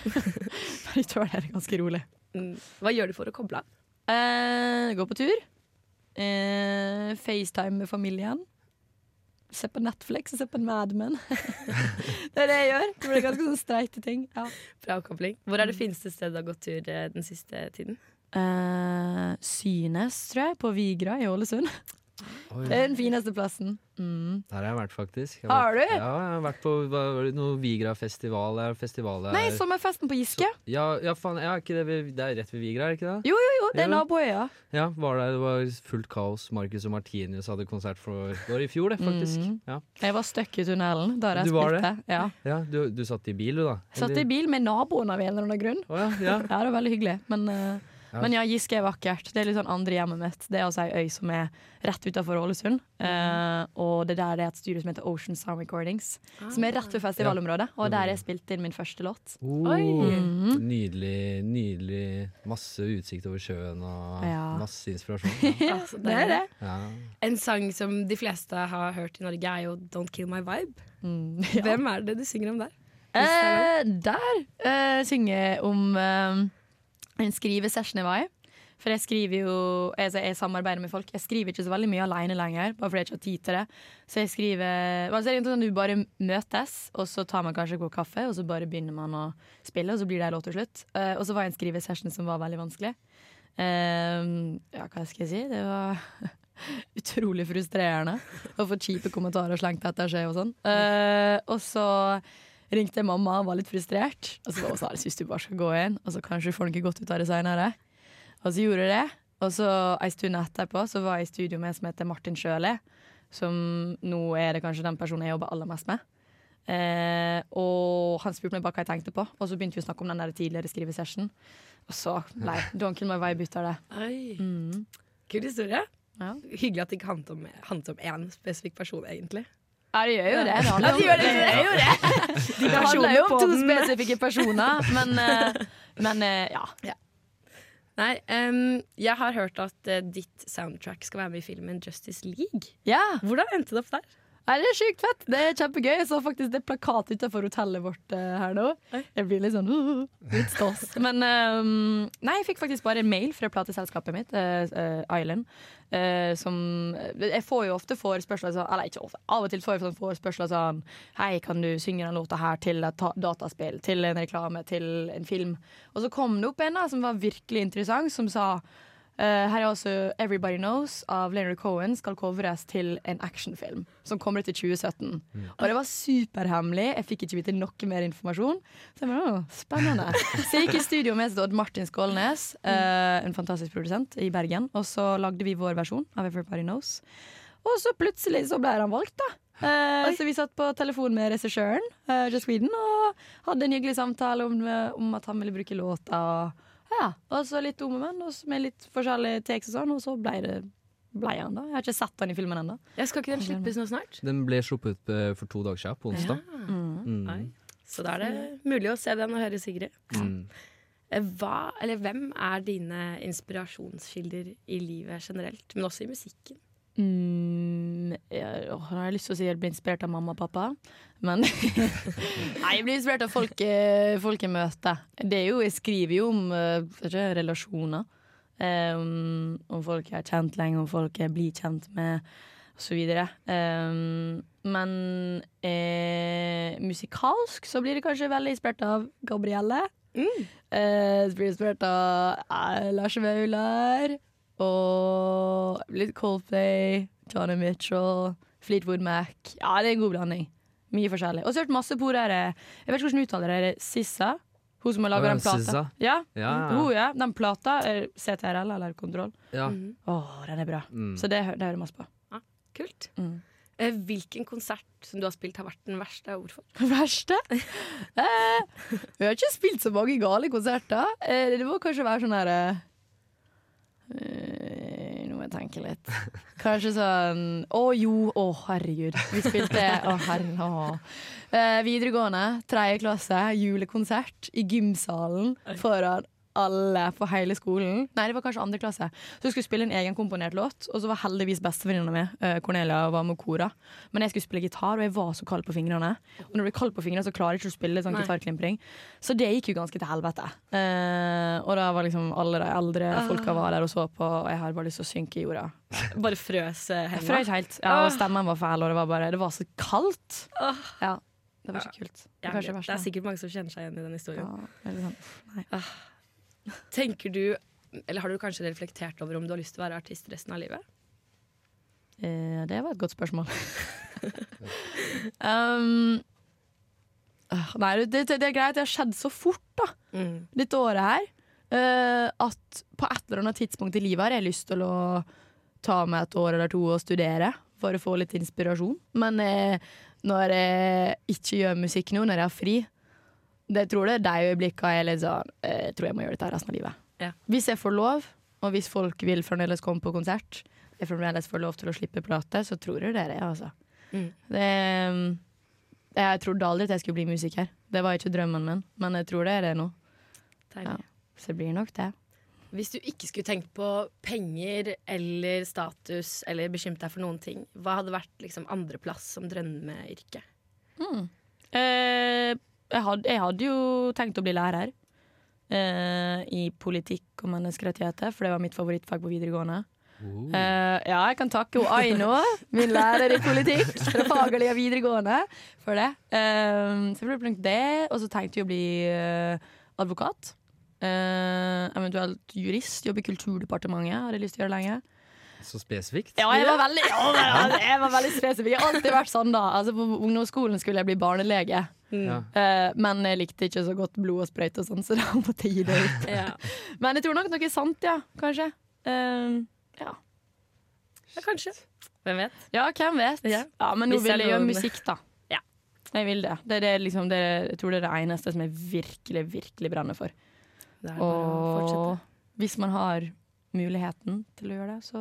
S17: Men utover det er det ganske rolig.
S3: Mm. Hva gjør du for å koble av?
S17: Uh, gå på tur. Eh, FaceTime med familien. Se på Netflix og se på Mad Men. det er det jeg gjør. Det blir ganske sånn streite ting. Ja.
S3: Bra avkobling. Hvor
S17: Mm.
S3: er det fineste stedet du har gått tur eh, den siste tiden?
S17: Eh, Synes, tror jeg, på Vigra i Ålesund.
S5: Oi.
S17: Det er den fineste plassen. Mm.
S5: Der har jeg vært, faktisk. Jeg
S17: Har
S5: vært-
S17: du?
S5: Ja, jeg har vært på hva var det, noe Vigra-festival. det er festival der.
S17: Nei, sommerfesten på Giske.
S5: Ja, ja, faen, ja, er ikke det, ved- det er rett ved Vigra, er det ikke det?
S17: Jo, jo, jo, det er
S5: Jo.
S17: naboøya.
S5: Ja, var der, det var fullt kaos. Marcus og Martinius hadde konsert for det var i fjor, det, faktisk.
S17: Mhm.
S5: Ja.
S17: Jeg var stuck i tunnelen da jeg
S5: Du var
S17: spilte.
S5: det?
S17: Ja.
S5: Ja, du, du satt i bil, du, da?
S17: Satt i bil med naboen av en eller annen grunn.
S5: ja.
S17: det var veldig hyggelig. Men, eh,
S5: Ja.
S17: men ja, Giske er vakkert. Det er litt sånn andre hjemmet mitt. Det er altså ei øy som er rett utafor Ålesund. Eh, og det der det er et studio som heter Ocean Sound Recordings. Som er rett ved festivalområdet. Og der jeg spilte inn min første låt.
S5: Oh,
S17: Mhm.
S5: Nydelig, nydelig. Masse utsikt over sjøen og
S3: Ja.
S5: masse inspirasjon.
S3: Altså,
S17: det er det.
S5: Ja.
S3: En sang som de fleste har hørt i Norge, er jo 'Don't Kill My Vibe'. Mm. Hvem er det du synger om der?
S17: Eh, der eh, synger jeg om eh, en skrivesession jeg var i. For jeg skriver jo jeg, jeg samarbeider med folk. Jeg skriver ikke så veldig mye alene lenger, bare fordi jeg ikke har tid til det. Så jeg skriver altså, det er egentlig sånn at Du bare møtes, og så tar man kanskje en kopp kaffe, og så bare begynner man å spille, og så blir det en låt til slutt. Eh, og så var jeg i en skrivesession som var veldig vanskelig. Eh, ja, hva skal jeg si? Det var utrolig frustrerende å få kjipe kommentarer slengt etter seg og sånn. Eh, og så ringte jeg mamma og var litt frustrert. Og så var hun sånn, jeg synes du bare skal gå inn, og så kanskje du får noe godt ut av det senere. Og så gjorde jeg det. Og så en stund etterpå så var jeg i studio med en som heter Martin Sjøli, som nå er det kanskje den personen jeg jobber aller mest med. Eh, og han spurte meg bare hva jeg tenkte på, og så begynte vi å snakke om den der tidligere skrivesession. Og så nei, Don't kill my vibe ut av det.
S3: Oi.
S17: Mm.
S3: Kul historie.
S17: Ja.
S3: Hyggelig at det ikke handlet om- handlet om én spesifikk person, egentlig.
S17: Ja, det gjør jo det. Det
S3: Ja,
S17: handler
S3: det
S17: om-
S3: gjør det,
S17: det
S3: det
S17: gjør
S3: gjør
S17: det.
S3: De
S17: Det handler
S3: personene
S17: jo om
S3: på
S17: to
S3: den.
S17: spesifikke personer, men, eh, men eh, ja.
S3: Nei, em, jeg har hørt at eh, ditt soundtrack skal være med i filmen Justice League. Hvordan endte det opp der?
S17: Nei, det er sjukt fett. Det er kjempegøy. Jeg så faktisk det er plakat utenfor hotellet vårt eh, her nå. Jeg blir litt sånn uh, litt stas. Men ehm, nei, jeg fikk faktisk bare en mail fra plateselskapet mitt, eh, eh, Island, eh, som Jeg får jo ofte forespørsler sånn Eller ikke ofte, av og til får jeg sånn forespørsler sånn Hei, kan du synge den låta her til et ta- dataspill, til en reklame, til en film? Og så kom det opp en da som var virkelig interessant, som sa Eh, her er også 'Everybody Knows' av Leonard Cohen skal covres til en actionfilm som kommer ut i 2017. Og det var superhemmelig. Jeg fikk ikke vite noe mer informasjon. Så jeg bare, «Åh, spennende. Så jeg gikk i studio med Odd Martin Skålnes, eh, en fantastisk produsent i Bergen. Og så lagde vi vår versjon av 'Everybody Knows'. Og så plutselig så ble han valgt, da. Eh, så vi satt på telefon med regissøren eh, Just Sweden og hadde en hyggelig samtale om, eh, om at han ville bruke låta. Og ja, og så litt om og men, og så med litt forskjellige takes og sånn, og så blei det blei han, da. Jeg har ikke sett han i filmen ennå.
S3: Skal ikke den slippes nå snart?
S5: Den ble sluppet eh, for to dager siden, på onsdag. Mm.
S3: Oi. Så da er det mulig å se den og høre Sigrid.
S5: Mm.
S3: Eh, Hva, eller hvem er dine inspirasjonskilder i livet generelt, men også i musikken?
S17: Mm, jeg, åh, nå har jeg lyst til å si jeg blir inspirert av mamma og pappa, men Nei, jeg blir inspirert av folk, eh, folk jeg møter. Det er jo, jeg skriver jo om eh, vet ikke, relasjoner. Um, om folk jeg har kjent lenge, om folk jeg blir kjent med, osv. Um, men eh, musikalsk så blir det kanskje veldig inspirert av Gabrielle.
S5: Mm.
S17: Eh, så blir jeg inspirert av eh, Lars Vaular. Og litt Coldplay, Johnny Mitchell, Fleetwood Mac. Ja, det er en god blanding. Mye forskjellig. Og så har jeg hørt masse på hun der eh, Jeg vet ikke hvordan hun uttaler det. er det Sissa? Hun som har
S5: Å,
S17: laga
S5: ja,
S17: den plata.
S5: SZA.
S17: Ja.
S5: Ja.
S17: Hun, ja. Den plata, er CTRL eller Kontroll,
S5: Ja.
S17: Mhm. Å, den er bra.
S5: Mm.
S17: Så det, hø- det hører masse på.
S3: Ja, kult. Eh, Hvilken konsert som du har spilt har vært den verste, og hvorfor?
S17: Verste? Eh, vi har ikke spilt så mange gale konserter. Eh, det må kanskje være sånn her eh, eh, Nå må jeg tenke litt. Kanskje sånn Å jo, å herregud. Vi spilte Å herre å. Eh, Videregående, tredje klasse, julekonsert i gymsalen foran alle på hele skolen. Nei, det var kanskje andre klasse. Så jeg skulle spille en egenkomponert låt, og så var heldigvis bestevenninna mi, eh, Cornelia, var med kora. Men jeg skulle spille gitar, og jeg var så kald på fingrene. Og når du blir kald på fingrene, så klarer du ikke å spille sånn
S3: Nei.
S17: gitarklimpring. Så det gikk jo ganske til helvete. Eh, og da var liksom alle de eldre folka var der og så på, og jeg hadde bare lyst til å synke i jorda.
S3: Bare frøs eh,
S17: Jeg
S3: henda?
S17: frøs helt. Ja,
S3: Ah.
S17: og stemmen var fæl, og det var bare Det var så kaldt. Ja, det var ikke kult. Det
S3: Jeg
S17: var kanskje
S3: vet.
S17: verst,
S3: det
S17: da.
S3: er sikkert mange som kjenner seg igjen i den historien.
S17: Eller sånn. Nei.
S3: Ah. Tenker du, eller har du kanskje reflektert over om du har lyst til å være artist resten av livet?
S17: Eh, det var et godt spørsmål. um, ah, nei, det, det, det er greit. Det har skjedd så fort, da. Dette året her. eh, at på et eller annet tidspunkt i livet har jeg lyst til å ta meg et år eller to og studere. For å få litt inspirasjon. Men eh, når jeg ikke gjør musikk nå, når jeg har fri, det tror jeg det er de øyeblikkene jeg er litt sånn eh, Jeg tror jeg må gjøre dette her resten av livet. Hvis jeg får lov, og hvis folk vil fremdeles komme på konsert, jeg fremdeles får lov til å slippe plate, så tror jeg det er det, altså. Det, eh, jeg trodde aldri at jeg skulle bli musiker. Det var ikke drømmen min, men jeg tror det er det nå.
S3: Deilig.
S17: Ja, så det blir nok det.
S3: Hvis du ikke skulle tenkt på penger eller status eller bekymret deg for noen ting, hva hadde vært liksom andreplass som drømmeyrke?
S17: Mm. Eh, jeg, hadde, jeg hadde jo tenkt å bli lærer eh, i politikk og menneskerettigheter, for det var mitt favorittfag på videregående. Eh, ja, jeg kan takke hun Aino, min lærer i politikk fra Fagerli og videregående, for det. Eh, så jeg ble blant det, og så tenkte jeg å bli eh, advokat. Eh, eventuelt jurist. Jobbe i Kulturdepartementet, hadde jeg lyst til å gjøre lenge.
S5: Så spesifikt.
S17: Ja, jeg var veldig, ja, men, jeg var veldig spesifikk. Jeg har alltid vært sånn, da. Altså, på ungdomsskolen skulle jeg bli barnelege.
S3: Mm.
S5: Ja.
S17: Eh, men jeg likte ikke så godt blod og sprøyte og sånn, så da måtte jeg gi det ut. Men jeg tror nok noe sant, ja. Kanskje. Eh, ja.
S3: ja, kanskje. Hvem vet?
S17: Ja, hvem vet. Ja, men nå
S3: Hvis jeg
S17: vil jeg gjøre
S3: lover.
S17: musikk, da.
S3: Ja.
S17: Jeg vil det. Det er det, liksom, det, er- jeg tror det er det eneste som jeg virkelig, virkelig brenner for.
S3: Det er bare å
S17: Og
S3: fortsette.
S17: hvis man har muligheten til å gjøre det, så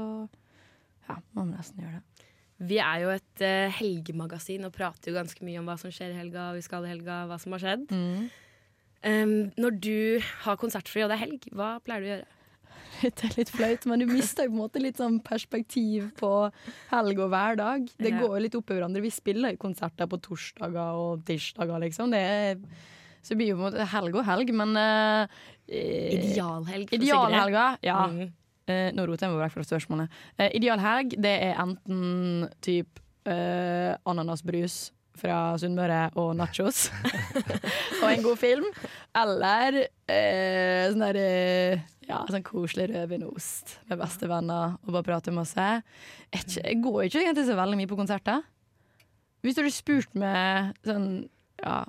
S17: ja, må man nesten gjøre det.
S3: Vi er jo et eh, helgemagasin og prater jo ganske mye om hva som skjer i helga, vi skal i helga, hva som har skjedd. Um, når du har konsertfri og det er helg, hva pleier du å gjøre?
S17: Det er litt flaut, men du mister på en måte litt sånn perspektiv på helg og hverdag. Det
S3: Ja.
S17: går jo litt opp i hverandre. Vi spiller jo konserter på torsdager og tirsdager, liksom. Det er, så det blir jo på en måte helg og helg, men eh, eh,
S3: Idealhelg for
S17: Idealhelga,
S3: Sigrid.
S17: ja.
S3: Mhm.
S17: Eh, nå roter jeg meg vekk fra spørsmålet. Eh, idealhelg, det er enten typ eh, ananasbrus fra Sunnmøre og nachos og en god film. Eller eh, sånn der eh, ja, sånn koselig rødvinost med bestevenner og bare prate masse. Jeg er ikke- Jeg går ikke egentlig så veldig mye på konserter. Hvis du hadde spurt meg sånn Ja,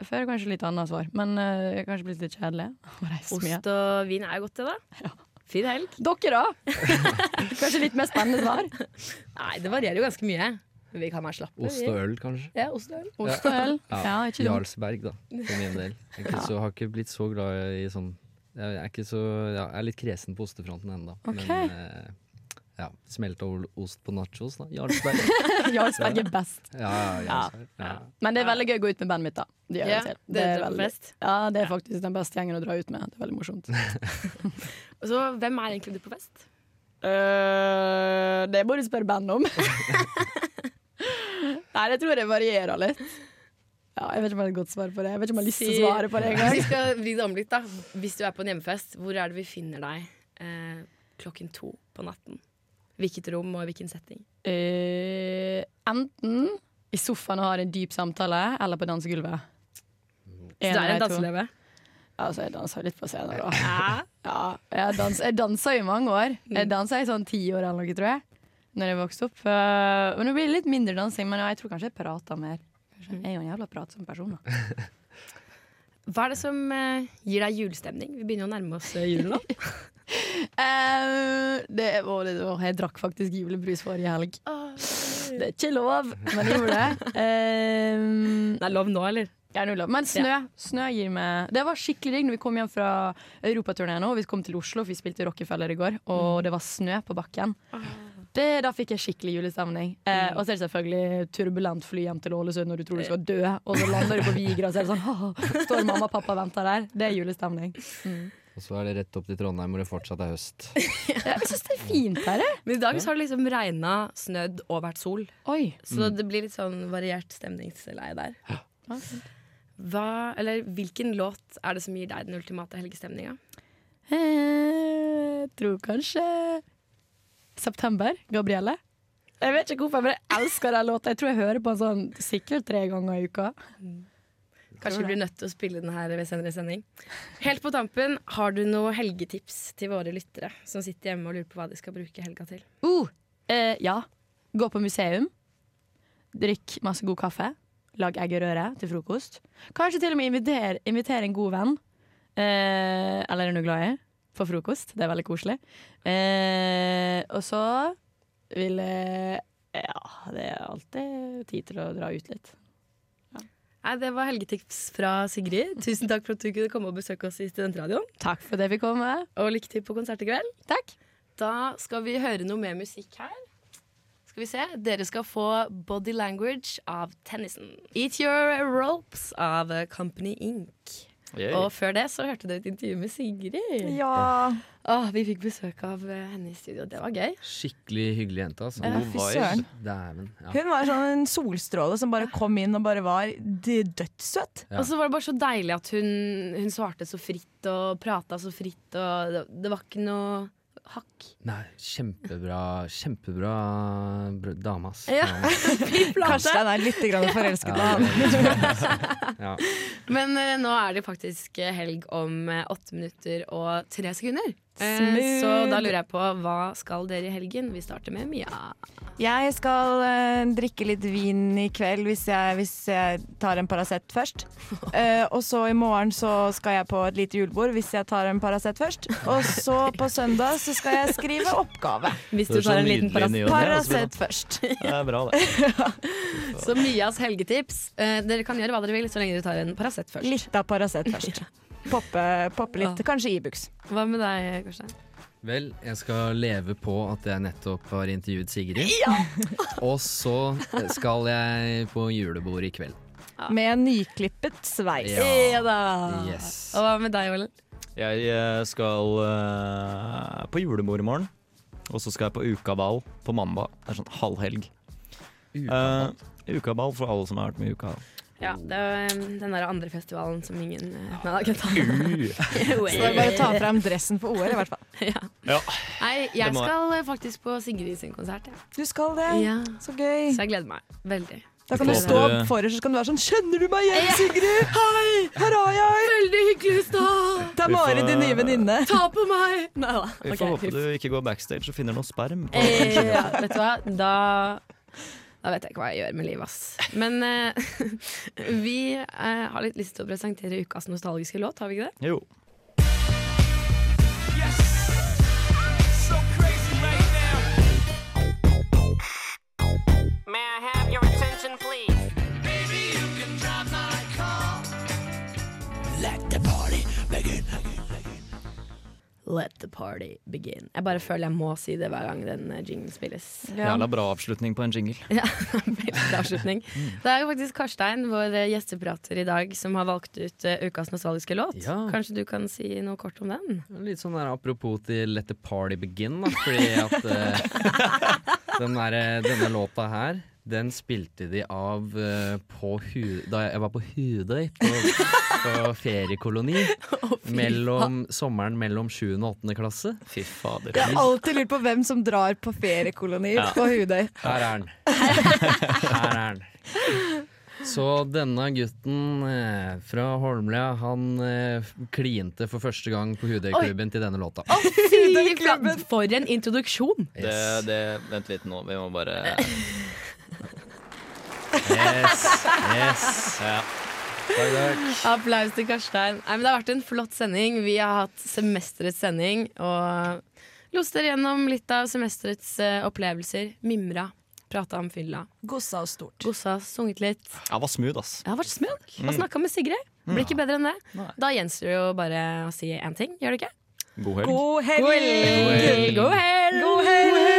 S17: før kanskje litt annet svar, men eh, jeg er kanskje blitt litt kjedelig. å reise mye.
S3: Ost og vin er jo godt, det, da. Fin helg.
S17: Dere, da? Kanskje litt mer spennende svar?
S3: Nei, det varierer jo ganske mye. Men Vi kan være slappe. vi.
S5: Ost og øl, kanskje.
S3: Ja, ost og øl.
S17: Ost og øl. Ja, ikke dumt.
S5: Jarlsberg, da, for min del. Jeg er ikke så, har ikke blitt så glad i sånn Jeg er, ikke så, ja, jeg er litt kresen på ostefronten ennå.
S17: Ok.
S5: Men eh, ja, smelta ol- ost på nachos, da. Jarlsberg.
S17: Jarlsberg er best.
S5: Ja, ja, Jarlsberg. Ja.
S17: Men det er veldig gøy å gå ut med bandet mitt, da. Det gjør
S3: Ja,
S17: jeg selv.
S3: det er det
S17: veldig-
S3: best.
S17: Ja, det er faktisk den beste gjengen å dra ut med. Det er veldig morsomt.
S3: Og så, hvem er egentlig du på fest?
S17: Eh, det må du spørre bandet om. Nei, det tror jeg varierer litt. Ja, jeg vet ikke om jeg har et godt svar på det. Jeg vet ikke om jeg har lyst til å
S3: Si-
S17: svare på det engang.
S3: Vi skal vri det om litt, da. Hvis du er på en hjemmefest, hvor er det vi finner deg eh, klokken to på natten? Hvilket rom og hvilken setting?
S17: Eh, enten i sofaen og har en dyp samtale, eller på dansegulvet.
S3: Så du
S17: En av
S3: er en
S17: de to.
S3: danseleve?
S17: Altså, jeg dansa litt på scenen, da. Ja, jeg, dans, jeg dansa i mange år. Jeg dansa i sånn ti år eller noe, tror jeg. Når jeg vokste opp. Eh, Men Nå blir det litt mindre dansing, men jeg tror kanskje jeg prater mer. Kanskje. Jeg er jo en jævla pratsom person, da.
S3: Hva er det som eh, gir deg julestemning? Vi begynner å nærme oss eh, julen nå.
S17: Eh, det var, det var, jeg drakk faktisk julebrus forrige helg. Det er ikke lov, men jeg gjorde det. Eh, det
S3: er lov nå, eller?
S17: Ja, nå er lov. Men snø,
S3: Ja.
S17: snø gir meg Det var skikkelig digg når vi kom hjem fra europaturneen nå. og Vi kom til Oslo, for vi spilte i Rockefeller i går, og det var snø på bakken. Det, da fikk jeg skikkelig julestemning. Eh, og så er det selvfølgelig turbulent fly hjem til Ålesund når du tror du skal dø, og så lander du på Vigra, og så er det sånn «Haha», Står mamma og pappa og venter der. Det er julestemning. Mm.
S5: Og så er det rett opp til Trondheim hvor det fortsatt er høst.
S17: Jeg syns det er fint her, jeg.
S3: Men i dag så har det liksom regna, snødd og vært sol.
S17: Oi.
S3: Så
S5: Mm.
S3: det blir litt sånn variert stemningsleie der. Hva, eller hvilken låt er det som gir deg den ultimate helgestemninga?
S17: Eh, Jeg tror kanskje September. Gabrielle. Jeg vet ikke hvorfor, men jeg elsker den låta. Jeg tror jeg hører på den sånn sikkert tre ganger i uka.
S3: Kanskje vi blir nødt til å spille den her ved senere sending. Helt på tampen, har du noe helgetips til våre lyttere som sitter hjemme og lurer på hva de skal bruke helga til?
S17: Uh, eh, ja. Gå på museum. Drikk masse god kaffe. Lag eggerøre til frokost. Kanskje til og med inviter, invitere en god venn. Eh, eller er du glad i? For frokost. Det er veldig koselig. Eh, og så vil jeg Ja, det er alltid tid til å dra ut litt.
S3: Nei, Det var helgetips fra Sigrid. Tusen takk for at du kunne komme og besøke oss i Studentradioen.
S17: Takk for det vi kom med.
S3: Og lykke til på konsert i kveld.
S17: Takk.
S3: Da skal vi høre noe mer musikk her. Skal vi se. Dere skal få Body Language av Tennyson. Eat Your Ropes av Company Inc.
S12: Yay.
S3: Og før det så hørte dere et intervju med Sigrid.
S12: Ja.
S3: Åh, vi fikk besøk av eh, henne i studio. Det var gøy.
S5: Skikkelig hyggelig jente, altså.
S3: Ja, fy søren.
S5: Dæven. Ja.
S7: Hun var sånn en solstråle som bare kom inn og bare var d- dødssøt.
S3: Og så var det bare så deilig at hun, hun svarte så fritt og prata så fritt. Og det, det var ikke noe hakk.
S5: Nei, kjempebra, kjempebra br- dame, ass.
S3: Ja. Fy flate.
S7: Karstein er litt grann forelsket i
S5: Ja.
S7: han.
S5: Ja.
S3: Men eh, nå er det faktisk eh, helg om eh, åtte minutter og tre sekunder. Eh,
S7: Smooth.
S3: så da lurer jeg på hva skal dere i helgen? Vi starter med Mia.
S7: Jeg skal eh, drikke litt vin i kveld hvis jeg, hvis jeg tar en Paracet først. Eh, og så i morgen så skal jeg på et lite julebord hvis jeg tar en Paracet først. Og så på søndag så skal jeg skrive oppgave.
S3: Hvis du Det er så tar en liten nydelig Paracet. ny og ne, altså, Mia.
S7: Paracet først.
S4: Sånn Det er bra, det.
S3: Så Mias helgetips. Eh, dere kan gjøre hva dere vil så lenge dere tar en Paracet først.
S7: Litt av Paracet først. Poppe, poppe litt. Kanskje Ibux.
S3: Hva med deg, Karstein?
S5: Vel, jeg skal leve på at jeg nettopp har intervjuet Sigrid. Og så skal jeg på julebord i kveld.
S7: Med nyklippet sveis.
S5: Ja. Ja da.
S4: Yes.
S3: Og hva med deg, Olen?
S4: Jeg eh, skal eh, på julebord i morgen. Og så skal jeg på ukaball på mandag. Det er sånn halvhelg.
S5: Ukaball?
S4: Eh, ukaball for alle som har vært med i ukaball.
S3: Ja, det er eh, den der andre festivalen som ingen eh, Nei, da kødda.
S7: Så det er bare å ta frem dressen for OL, i hvert fall.
S4: Ja.
S3: Nei,
S7: Det
S3: jeg
S7: må jeg.
S3: skal eh, faktisk på Sigrid sin konsert. Ja.
S7: Du skal det?
S3: Ja.
S7: Så gøy.
S3: Så jeg gleder meg veldig.
S7: Da kan du
S3: Håper
S7: stå
S3: du-
S7: foran, så kan du være sånn Kjenner du meg igjen, Sigrid? Hei! Her er jeg!
S3: Veldig hyggelig i stad.
S7: Det er Mari, din nye venninne.
S3: Ta på meg! Nei da.
S4: Vi får håpe du ikke går backstage og finner noe sperm. På
S3: Eh, ja, vet du hva, da da vet jeg ikke hva jeg gjør med livet, ass. Men eh, vi eh, har litt lyst til å presentere ukas nostalgiske låt, har vi ikke det?
S4: Jo.
S12: May I have your attention, please? Baby, you can drive my car.
S3: Let the party begin. Let the party begin. Jeg bare føler jeg må si det hver gang den eh, jinglen spilles.
S4: Jævla bra avslutning på en jingle.
S3: Ja, veldig avslutning. Det er jo faktisk Karstein, vår eh, gjesteprater i dag, som har valgt ut eh, ukas nostalgiske låt.
S5: Ja.
S3: Kanskje du kan si noe kort om den?
S5: Litt sånn der apropos til Let the party begin, da. Fordi at eh, den der, denne låta her, den spilte de av eh, på hu da jeg var på Hudøy, på, på feriekoloni. Mellom, sommeren mellom 7. og 8. klasse.
S4: Fy fader.
S7: Jeg har alltid lurt på hvem som drar på feriekoloni
S5: Ja.
S7: på Hudøy.
S5: Her er den. Her er den. Så denne gutten eh, fra Holmlia, han eh, klinte for første gang på Hudøyklubben til denne låta.
S3: Fy flate, for en introduksjon!
S4: Det, det, vent litt nå, vi må bare
S5: Yes, yes.
S4: Ja.
S3: Applaus til Karstein. Nei, men det har vært en flott sending. Vi har hatt semesterets sending og lost dere gjennom litt av semesterets eh, opplevelser. Mimra. Prata om fylla.
S6: Gossa og stort.
S3: Gossa, sunget litt.
S4: Jeg var smooth, ass.
S3: Jeg har vært smug og
S4: Mm.
S3: snakka med Sigrid.
S4: Mm.
S3: Blir ikke bedre enn det.
S4: Nei.
S3: Da gjenstår det jo bare å si én ting, gjør det ikke?
S4: God helg.
S3: God helg! God helg! God helg!